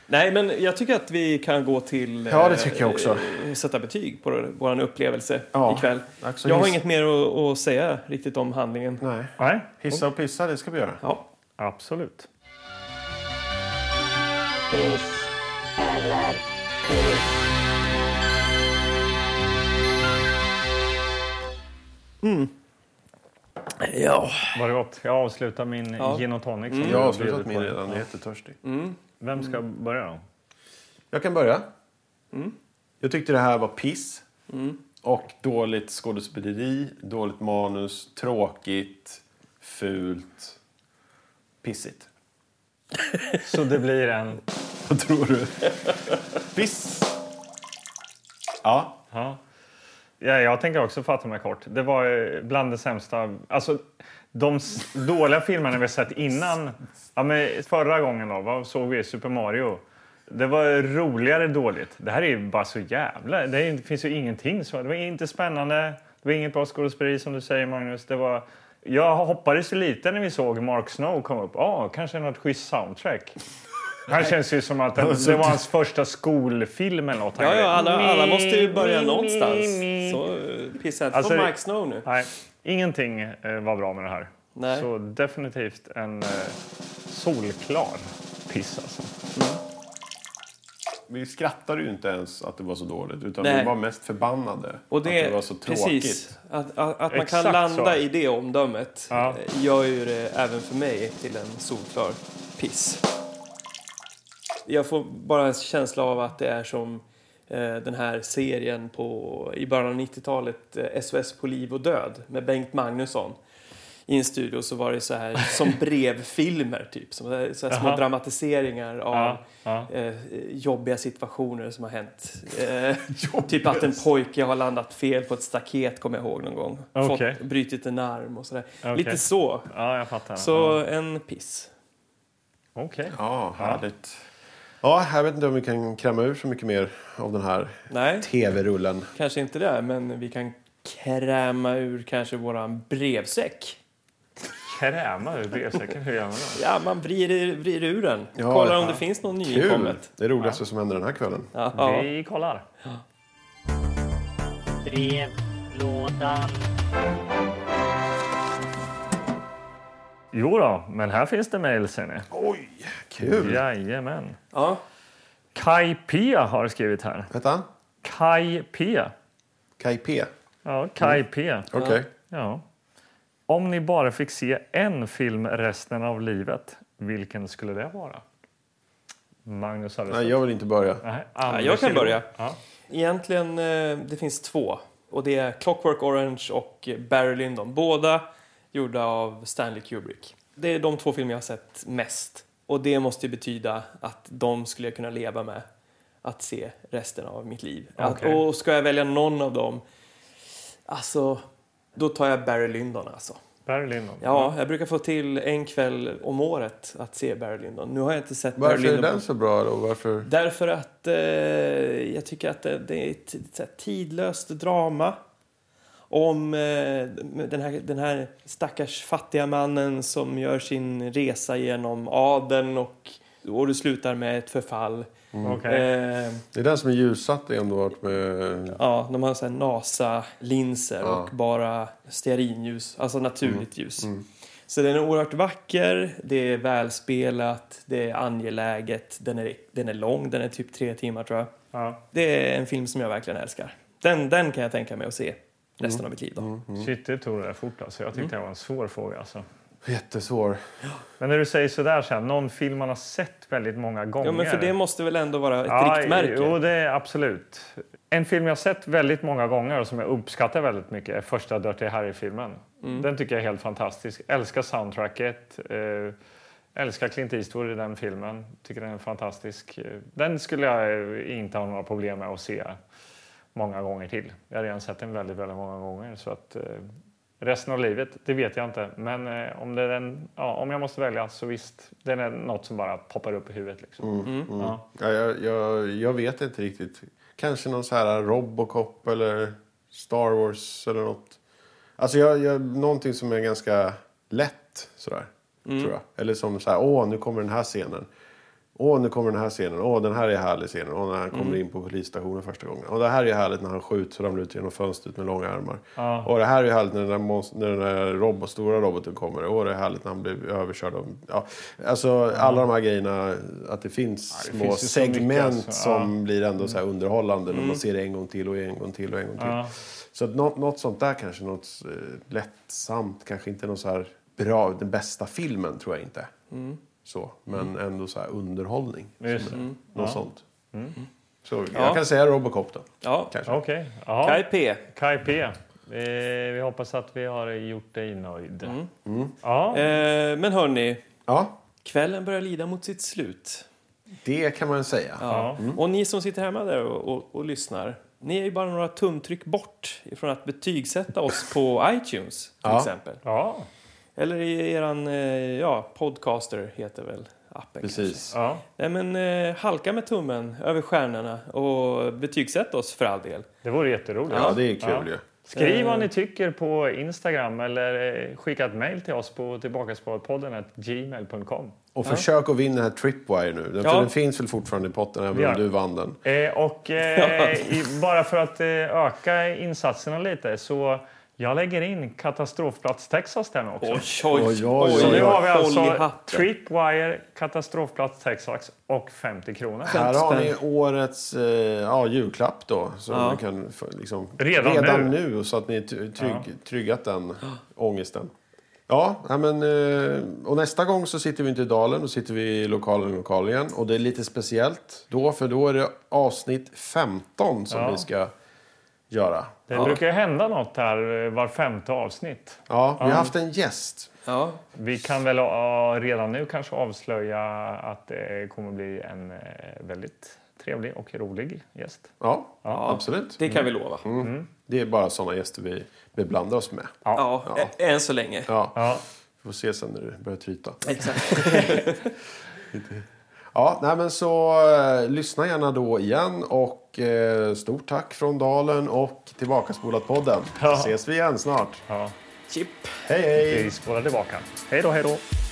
[SPEAKER 3] Nej, men jag tycker att vi kan gå till...
[SPEAKER 2] Ja, det tycker jag också.
[SPEAKER 3] eh, Sätta betyg på vår upplevelse
[SPEAKER 2] Ja.
[SPEAKER 3] ikväll.
[SPEAKER 2] Tack så
[SPEAKER 3] jag har
[SPEAKER 2] hemskt.
[SPEAKER 3] inget mer att, att säga riktigt om handlingen.
[SPEAKER 2] Nej.
[SPEAKER 1] Nej,
[SPEAKER 2] Hissa och pissa, det ska vi göra.
[SPEAKER 3] Ja.
[SPEAKER 1] absolut.
[SPEAKER 3] ja.
[SPEAKER 1] Var det gott? Jag avslutar min
[SPEAKER 3] Ja. Mm.
[SPEAKER 1] gin och tonic. som
[SPEAKER 2] Jag har
[SPEAKER 1] bjudit
[SPEAKER 2] avslutat
[SPEAKER 1] Mm. på
[SPEAKER 2] min
[SPEAKER 1] dig.
[SPEAKER 2] redan, jag är jättetörstig.
[SPEAKER 1] Vem ska börja då?
[SPEAKER 2] Jag kan börja. Jag tyckte det här var piss. Och dåligt skådespeleri, dåligt manus, tråkigt, fult, pissigt.
[SPEAKER 1] Så det blir en...
[SPEAKER 2] Vad tror du? Piss! Ja,
[SPEAKER 1] Ja. Ja, jag tänker också fatta mig kort. Det var eh, bland det sämsta... Alltså, de s- dåliga filmerna vi sett innan... Ja, men förra gången då, vad såg vi? Super Mario. Det var roligare dåligt. Det här är ju bara så jävla... Det, är, ju- det finns ju ingenting. Så, det var inte spännande. Det var inget bra skådespeleri som du säger, Magnus. Det var... Jag hoppades ju lite när vi såg Mark Snow komma upp. Ah, kanske något schysst soundtrack. Han känns ju som att han, det var hans första skolfilm eller något. han
[SPEAKER 3] Ja, ja,
[SPEAKER 1] gjorde.
[SPEAKER 3] alla, alla måste ju börja
[SPEAKER 1] Mi, mi,
[SPEAKER 3] någonstans.
[SPEAKER 1] mi.
[SPEAKER 3] Så eh, pissa inte
[SPEAKER 1] Alltså,
[SPEAKER 3] på
[SPEAKER 1] det-
[SPEAKER 3] Mike Snow nu.
[SPEAKER 1] Nej, ingenting eh, var bra med det här.
[SPEAKER 3] Nej.
[SPEAKER 1] Så definitivt en eh, solklar piss alltså.
[SPEAKER 2] vi skrattade ju inte ens att det var så dåligt. Utan
[SPEAKER 3] Nej.
[SPEAKER 2] vi var mest förbannade
[SPEAKER 3] Och det,
[SPEAKER 2] att det var så tråkigt.
[SPEAKER 3] Precis, att, att, att man kan
[SPEAKER 1] Exakt
[SPEAKER 3] landa
[SPEAKER 1] så.
[SPEAKER 3] i det omdömet
[SPEAKER 1] Ja.
[SPEAKER 3] eh, gör ju det även för mig till en solklar piss. Jag får bara en känsla av att det är som eh, den här serien på, i början av 90-talet, eh, SOS på liv och död med Bengt Magnusson. I en studio så var det så här som brevfilmer typ, som, eh, så här små
[SPEAKER 1] Jaha.
[SPEAKER 3] dramatiseringar av
[SPEAKER 1] Ja, ja.
[SPEAKER 3] eh, jobbiga situationer som har hänt. Eh, typ att en pojke har landat fel på ett staket, kommer jag ihåg någon gång.
[SPEAKER 1] Okej.
[SPEAKER 3] Fått, brutit en arm och sådär.
[SPEAKER 1] Okej.
[SPEAKER 3] Lite så.
[SPEAKER 1] Ja, jag fattar.
[SPEAKER 3] Så en piss.
[SPEAKER 1] Okej.
[SPEAKER 2] Ja, härligt. Ja, jag vet inte om vi kan kräma ur så mycket mer av den här
[SPEAKER 3] Nej,
[SPEAKER 2] tv-rullen.
[SPEAKER 3] kanske inte det, men vi kan kräma ur kanske våran brevsäck.
[SPEAKER 1] Kräma ur brevsäcken, hur gör man då?
[SPEAKER 3] Ja, man vrider, vrider ur den.
[SPEAKER 2] Ja,
[SPEAKER 3] Kollar om
[SPEAKER 2] ja.
[SPEAKER 3] det finns någon
[SPEAKER 2] Kul!
[SPEAKER 3] nyinkommet.
[SPEAKER 2] Det roligaste som händer den här kvällen.
[SPEAKER 3] Ja, ja.
[SPEAKER 1] Vi kollar.
[SPEAKER 8] Brevlådan.
[SPEAKER 1] Jo då, men här finns det mejl ser ni.
[SPEAKER 2] Oj, kul!
[SPEAKER 1] Jajamän.
[SPEAKER 3] ja.
[SPEAKER 1] Kai P har skrivit här.
[SPEAKER 2] Hette han?
[SPEAKER 1] Kai P.
[SPEAKER 2] Kai P?
[SPEAKER 1] Ja, Kai P.
[SPEAKER 2] Okej.
[SPEAKER 1] Ja. Om ni bara fick se en film resten av livet, vilken skulle det vara? Magnus har
[SPEAKER 2] Nej, jag vill inte börja.
[SPEAKER 1] Nej,
[SPEAKER 3] Ja,
[SPEAKER 1] Anders
[SPEAKER 3] jag kan
[SPEAKER 1] Hilda.
[SPEAKER 3] börja.
[SPEAKER 1] Ja.
[SPEAKER 3] Egentligen, eh, det finns två. Och det är Clockwork Orange och Barry Lyndon. Båda gjorda av Stanley Kubrick. Det är de två filmer jag har sett mest. Och det måste ju betyda att de skulle jag kunna leva med att se resten av mitt liv. Att,
[SPEAKER 1] Okej.
[SPEAKER 3] och ska jag välja någon av dem, alltså, då tar jag Barry Lyndon alltså.
[SPEAKER 1] Barry Lyndon.
[SPEAKER 2] Mm.
[SPEAKER 3] Ja, jag brukar få till en kväll om året att se Barry Lyndon. Nu har jag inte sett Barry
[SPEAKER 2] Varför är
[SPEAKER 3] Lyndon på
[SPEAKER 2] den så bra då? Varför?
[SPEAKER 3] Därför att eh, jag tycker att det, det är ett, ett så här tidlöst drama om eh, den, här, den här stackars fattiga mannen som gör sin resa genom adeln och, och det slutar med ett förfall.
[SPEAKER 1] Mm. Okej.
[SPEAKER 3] Eh,
[SPEAKER 2] Det är den som är ljussatt i om du har varit med...
[SPEAKER 3] ja, de har så här NASA-linser och bara stearinljus, alltså naturligt ljus. Så den är oerhört vacker, det är välspelat, det är angeläget, den är, den är lång, den är typ tre timmar tror jag.
[SPEAKER 1] Ja.
[SPEAKER 3] Det är en film som jag verkligen älskar. Den, den kan jag tänka mig att se resten av mitt liv. Då.
[SPEAKER 1] Shit, det tog det där fort. Alltså. Jag tyckte
[SPEAKER 3] Mm.
[SPEAKER 1] det var en svår fråga. Alltså.
[SPEAKER 2] Jättesvår.
[SPEAKER 1] Men när du säger sådär, så här, någon film man har sett väldigt många gånger.
[SPEAKER 3] Ja, men för det måste väl ändå vara ett riktmärke?
[SPEAKER 1] Jo, det är absolut. En film jag har sett väldigt många gånger och som jag uppskattar väldigt mycket är första Dirty Harry-filmen.
[SPEAKER 3] Mm.
[SPEAKER 1] Den tycker jag är helt fantastisk. Älskar soundtracket. Eh, älskar Clint Eastwood i den filmen. Tycker den är fantastisk. Eh, Den skulle jag eh, inte ha några problem med att se många gånger till. Jag har redan sett den väldigt, väldigt många gånger. Så att, eh, resten av livet, det vet jag inte. Men eh, om, det är den, ja, om jag måste välja så visst, den är något som bara poppar upp i huvudet. Liksom.
[SPEAKER 3] Mm.
[SPEAKER 1] Ja.
[SPEAKER 2] Ja, jag, jag, jag vet inte riktigt. Kanske någon så här Robocop eller Star Wars eller något. Alltså jag, jag, någonting som är ganska lätt sådär. Tror jag. Eller som så här, åh nu kommer den här scenen. Åh nu kommer den här scenen. Åh den här är härlig scenen. Åh när han
[SPEAKER 1] Mm.
[SPEAKER 2] kommer in på polisstationen första gången. Och det här är härligt när han skjuts och ramlar ut genom fönstret med långa armar.
[SPEAKER 1] Ja.
[SPEAKER 2] Och det här är härligt när den där, mons- när den där robot, stora roboten kommer. Åh det är härligt när han blir överkörd av... Ja. Alltså alla de här grejerna. Att det finns
[SPEAKER 1] Ja, det
[SPEAKER 2] små
[SPEAKER 1] finns ju så mycket,
[SPEAKER 2] segment
[SPEAKER 1] alltså. Mm.
[SPEAKER 2] som blir ändå så här underhållande. När man ser det en gång till och en gång till och en gång till.
[SPEAKER 1] Ja.
[SPEAKER 2] Så att något, något sånt där kanske, något eh, lättsamt. Kanske inte någon så här bra, den bästa filmen tror jag inte. Så, men ändå så här underhållning.
[SPEAKER 1] Just
[SPEAKER 3] Mm.
[SPEAKER 1] det.
[SPEAKER 2] Något sånt. Så, Jag kan säga Robocop då.
[SPEAKER 3] Ja.
[SPEAKER 2] Kanske.
[SPEAKER 1] Okej. Jaha.
[SPEAKER 3] Kai P.
[SPEAKER 1] Kai P. Eh, vi hoppas att vi har gjort dig nöjd.
[SPEAKER 2] Mm.
[SPEAKER 1] Ja.
[SPEAKER 3] Eh, men hörni,
[SPEAKER 2] Ja,
[SPEAKER 3] kvällen börjar lida mot sitt slut.
[SPEAKER 2] det kan man säga.
[SPEAKER 1] Ja.
[SPEAKER 3] Och ni som sitter hemma där och, och, och lyssnar, ni är ju bara några tumtryck bort ifrån att betygsätta oss på iTunes till
[SPEAKER 2] Ja.
[SPEAKER 3] exempel.
[SPEAKER 1] Ja.
[SPEAKER 3] Eller i eran, eh, ja, podcaster heter väl appen kanske.
[SPEAKER 2] Precis.
[SPEAKER 1] ja.
[SPEAKER 3] Nej men eh, halka med tummen över stjärnorna och betygsätt oss för all del.
[SPEAKER 1] Det vore jätteroligt.
[SPEAKER 2] Ja, det är Eh. kul
[SPEAKER 1] Ja.
[SPEAKER 2] ju.
[SPEAKER 1] Skriv vad ni tycker på Instagram eller eh, skicka ett mejl till oss på tillbakasparatpodden gmail.com.
[SPEAKER 2] Och försök att vinna den här Tripwire nu. Den,
[SPEAKER 3] Ja.
[SPEAKER 2] för den finns väl fortfarande i potten även
[SPEAKER 1] Ja.
[SPEAKER 2] om du vann den.
[SPEAKER 1] Eh, och eh, i, bara för att eh, öka insatserna lite så Jag lägger in Katastrofplats Texas där nu också.
[SPEAKER 3] oj,
[SPEAKER 2] Oj, oj,
[SPEAKER 1] Så
[SPEAKER 2] oj.
[SPEAKER 1] nu har vi
[SPEAKER 3] Håll i
[SPEAKER 1] alltså
[SPEAKER 3] hatten.
[SPEAKER 1] Tripwire, Katastrofplats Texas och 50 kronor.
[SPEAKER 2] Här har ni årets eh, ja, julklapp då. Som
[SPEAKER 3] Ja.
[SPEAKER 2] ni kan få, liksom,
[SPEAKER 1] Redan nu.
[SPEAKER 2] så att ni ty- trygg, tryggat den ångesten. Ja, ja, men, eh, och nästa gång så sitter vi inte i dalen, då sitter vi i lokalen, lokal igen. Och det är lite speciellt då, för då är det avsnitt 15 som
[SPEAKER 1] Ja.
[SPEAKER 2] vi ska göra.
[SPEAKER 1] Det brukar ju hända något här eh, var femte avsnitt.
[SPEAKER 2] Ja, vi har haft en gäst.
[SPEAKER 3] Ja.
[SPEAKER 1] Vi kan väl ja, redan nu kanske avslöja att det kommer bli en eh, väldigt trevlig och rolig gäst.
[SPEAKER 2] Ja, absolut.
[SPEAKER 3] Det kan vi lova.
[SPEAKER 2] Det är bara sådana gäster vi beblandar oss med.
[SPEAKER 3] Ja, ä- än så länge.
[SPEAKER 2] Ja.
[SPEAKER 1] Ja.
[SPEAKER 2] Vi får se sen när det börjar tryta.
[SPEAKER 3] Exakt.
[SPEAKER 2] Ja, nej men så eh, lyssna gärna då igen och eh, stort tack från Dalen och Tillbakaspolat-podden.
[SPEAKER 1] Ja.
[SPEAKER 2] Ses vi igen snart.
[SPEAKER 1] Ja.
[SPEAKER 3] Chip.
[SPEAKER 2] Hej hej!
[SPEAKER 1] Vi spolar tillbaka. Hej då, hej då.